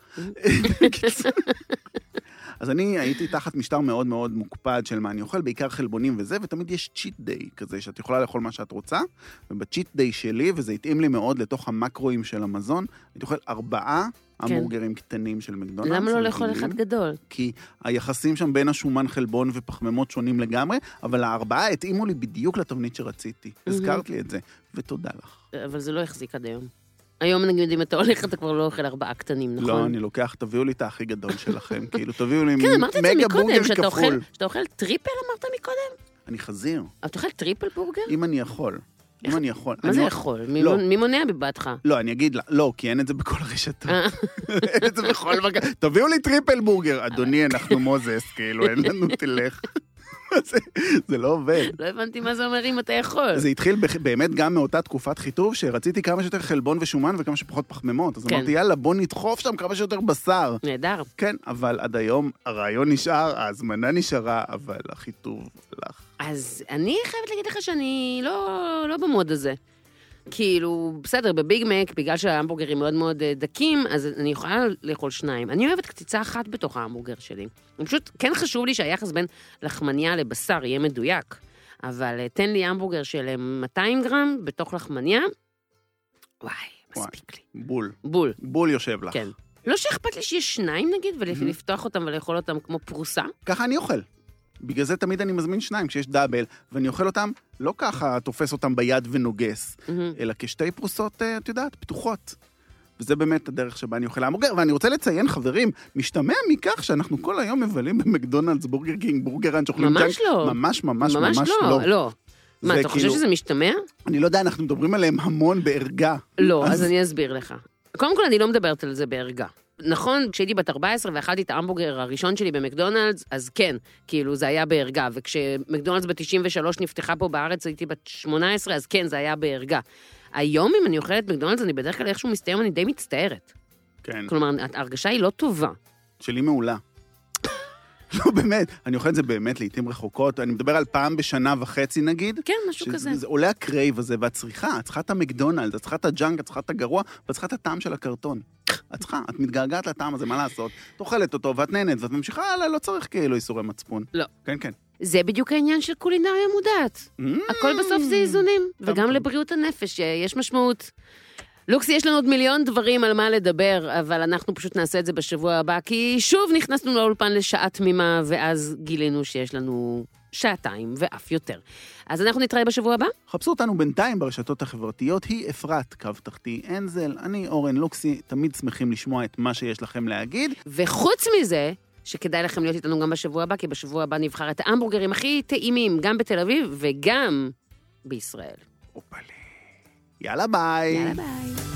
S2: אז אני הייתי תחת משטר מאוד מאוד מוקפד של מה אני אוכל, בעיקר חלבונים וזה, ותמיד יש צ'יט דיי כזה, שאת יכולה לאכול מה שאת רוצה, ובצ'יט דיי שלי, וזה התאים לי מאוד לתוך המקרואים של המזון, הייתי אוכל ארבעה המבורגרים קטנים של מקדונלדס.
S1: כן. למה לא לאכול
S2: שמבינים?
S1: אחד גדול?
S2: כי היחסים שם בין השומן חלבון ופחמימות שונים לגמרי, אבל הארבעה התאימו לי בדיוק לתבנית שרציתי. הזכרת לי את זה, ותודה לך.
S1: אבל זה לא יחזיק עד היום. היום, נגיד, אם אתה הולך, אתה כבר לא אוכל ארבעה קטנים, נכון?
S2: לא, אני לוקח, תביאו לי את הכי גדול שלכם, [laughs] כאילו, תביאו לי
S1: כן, אמרת את זה
S2: מגה
S1: מקודם,
S2: בורגר
S1: שאתה
S2: כפול.
S1: אוכל, שאתה אוכל טריפל, אמרת מקודם?
S2: אני חזיר,
S1: אתה אוכל טריפל בורגר?
S2: אם אני יכול. אם אני יכול.
S1: מה
S2: אני
S1: זה
S2: לא-
S1: יכול? מי-
S2: לא.
S1: מי מונע בבתך?
S2: לא, אני אגיד לה, לא, כי אין את זה בכל הרשתות.
S1: אה.
S2: [laughs] אין את [laughs] זה בכל מקום. תביאו לי טריפל בורגר.
S1: אה.
S2: אדוני, אנחנו מוזס, כאילו, אין
S1: [laughs]
S2: לנו תלך. [laughs] זה- זה לא עובד.
S1: לא הבנתי מה זה אומר אם אתה יכול.
S2: זה התחיל בכ- באמת גם מאותה תקופת חיטוב, שרציתי כמה שיותר חלבון ושומן וכמה שפחות פחמימות. אז
S1: כן.
S2: אמרתי, יאללה, בוא נדחוף שם כמה שיותר בשר.
S1: נהדר.
S2: כן, אבל עד היום הרעיון נשאר, ההזמנה נשארה, אבל החיטוב הלך.
S1: אז אני חייבת להגיד לך שאני לא, לא במוד הזה. כאילו, בסדר, בביג מק, בגלל שההמבורגרים מאוד מאוד אה, דקים, אז אני יכולה לאכול שניים. אני אוהבת קציצה אחת בתוך ההמבורגר שלי. פשוט, כן חשוב לי שהיחס בין לחמניה לבשר יהיה מדויק. אבל אה, תן לי המבורגר של אה, 200 גרם בתוך לחמניה, וואי,
S2: וואי.
S1: מספיק לי.
S2: בול.
S1: בול,
S2: בול יושב לך.
S1: כן. לא שאכפת לי שיש שניים נגיד, ולפתוח אותם ולאכול אותם כמו פרוסה.
S2: ככה אני אוכל. בגלל זה תמיד אני מזמין שניים כשיש דאבל, ואני אוכל אותם לא ככה תופס אותם ביד ונוגס,
S1: מהמם.
S2: אלא כשתי פרוסות, אה, את יודעת, פתוחות. וזה באמת הדרך שבה אני אוכל המבורגר, ואני רוצה לציין, חברים, משתמע מכך שאנחנו כל היום מבלים במקדונלדס, בורגר קינג, בורגר אנץ', אוכלים
S1: ממש
S2: ג'אנק.
S1: לא.
S2: ממש ממש ממש לא.
S1: לא. לא. מה,
S2: זה
S1: אתה חושב
S2: כאילו-
S1: שזה משתמע?
S2: אני לא יודע, אנחנו מדברים עליהם המון בערגה.
S1: לא,
S2: אז-
S1: אז אני אסביר לך. קודם כל, אני לא מדברת על זה בערגה. נכון, כשהייתי בת 14 ואכלתי את ההמבורגר הראשון שלי במקדונלדס, אז כן, כאילו זה היה בערגה. וכשמקדונלדס ב-93 נפתחה פה בארץ, הייתי בת 18, אז כן, זה היה בערגה. היום, אם אני אוכלת מקדונלדס, אני בדרך כלל איכשהו מסתיים, אני די מצטערת.
S2: כן.
S1: כלומר, ההרגשה היא לא טובה.
S2: שלי מעולה. [laughs] לא, באמת, אני אוכל את זה באמת לעיתים רחוקות, אני מדבר על פעם בשנה וחצי נגיד.
S1: כן, משהו כזה.
S2: זה עולה הקרייב הזה, ואת צריכה, את צריכה את המקדונלד, את צריכה את הג'אנק, את צריכה את הגרוע, ואת צריכה את הטעם של הקרטון. את צריכה, את מתגעגעת לטעם הזה, מה לעשות? את אוכלת אותו, ואת נהנית, ואת ממשיכה הלאה, לא צריך כאילו איסורי מצפון.
S1: לא.
S2: כן, Mm-hmm. כן.
S1: זה בדיוק העניין של קולינריה מודעת. הכל בסוף זה איזונים, וגם
S2: טוב.
S1: לבריאות הנפש אה, יש משמעות. לוקסי, יש לנו עוד מיליון דברים על מה לדבר, אבל אנחנו פשוט נעשה את זה בשבוע הבא, כי שוב נכנסנו לאולפן לשעה תמימה, ואז גילינו שיש לנו שעתיים ואף יותר. אז אנחנו נתראה בשבוע הבא?
S2: חפשו אותנו בינתיים ברשתות החברתיות, היא אפרת, קו תחתי אנזל, אני אורן לוקסי, תמיד שמחים לשמוע את מה שיש לכם להגיד.
S1: וחוץ מזה, שכדאי לכם להיות איתנו גם בשבוע הבא, כי בשבוע הבא נבחר את ההמבורגרים הכי טעימים, גם בתל אביב וגם בישראל.
S2: אופלה. יאללה ביי. אה.
S1: יאללה ביי.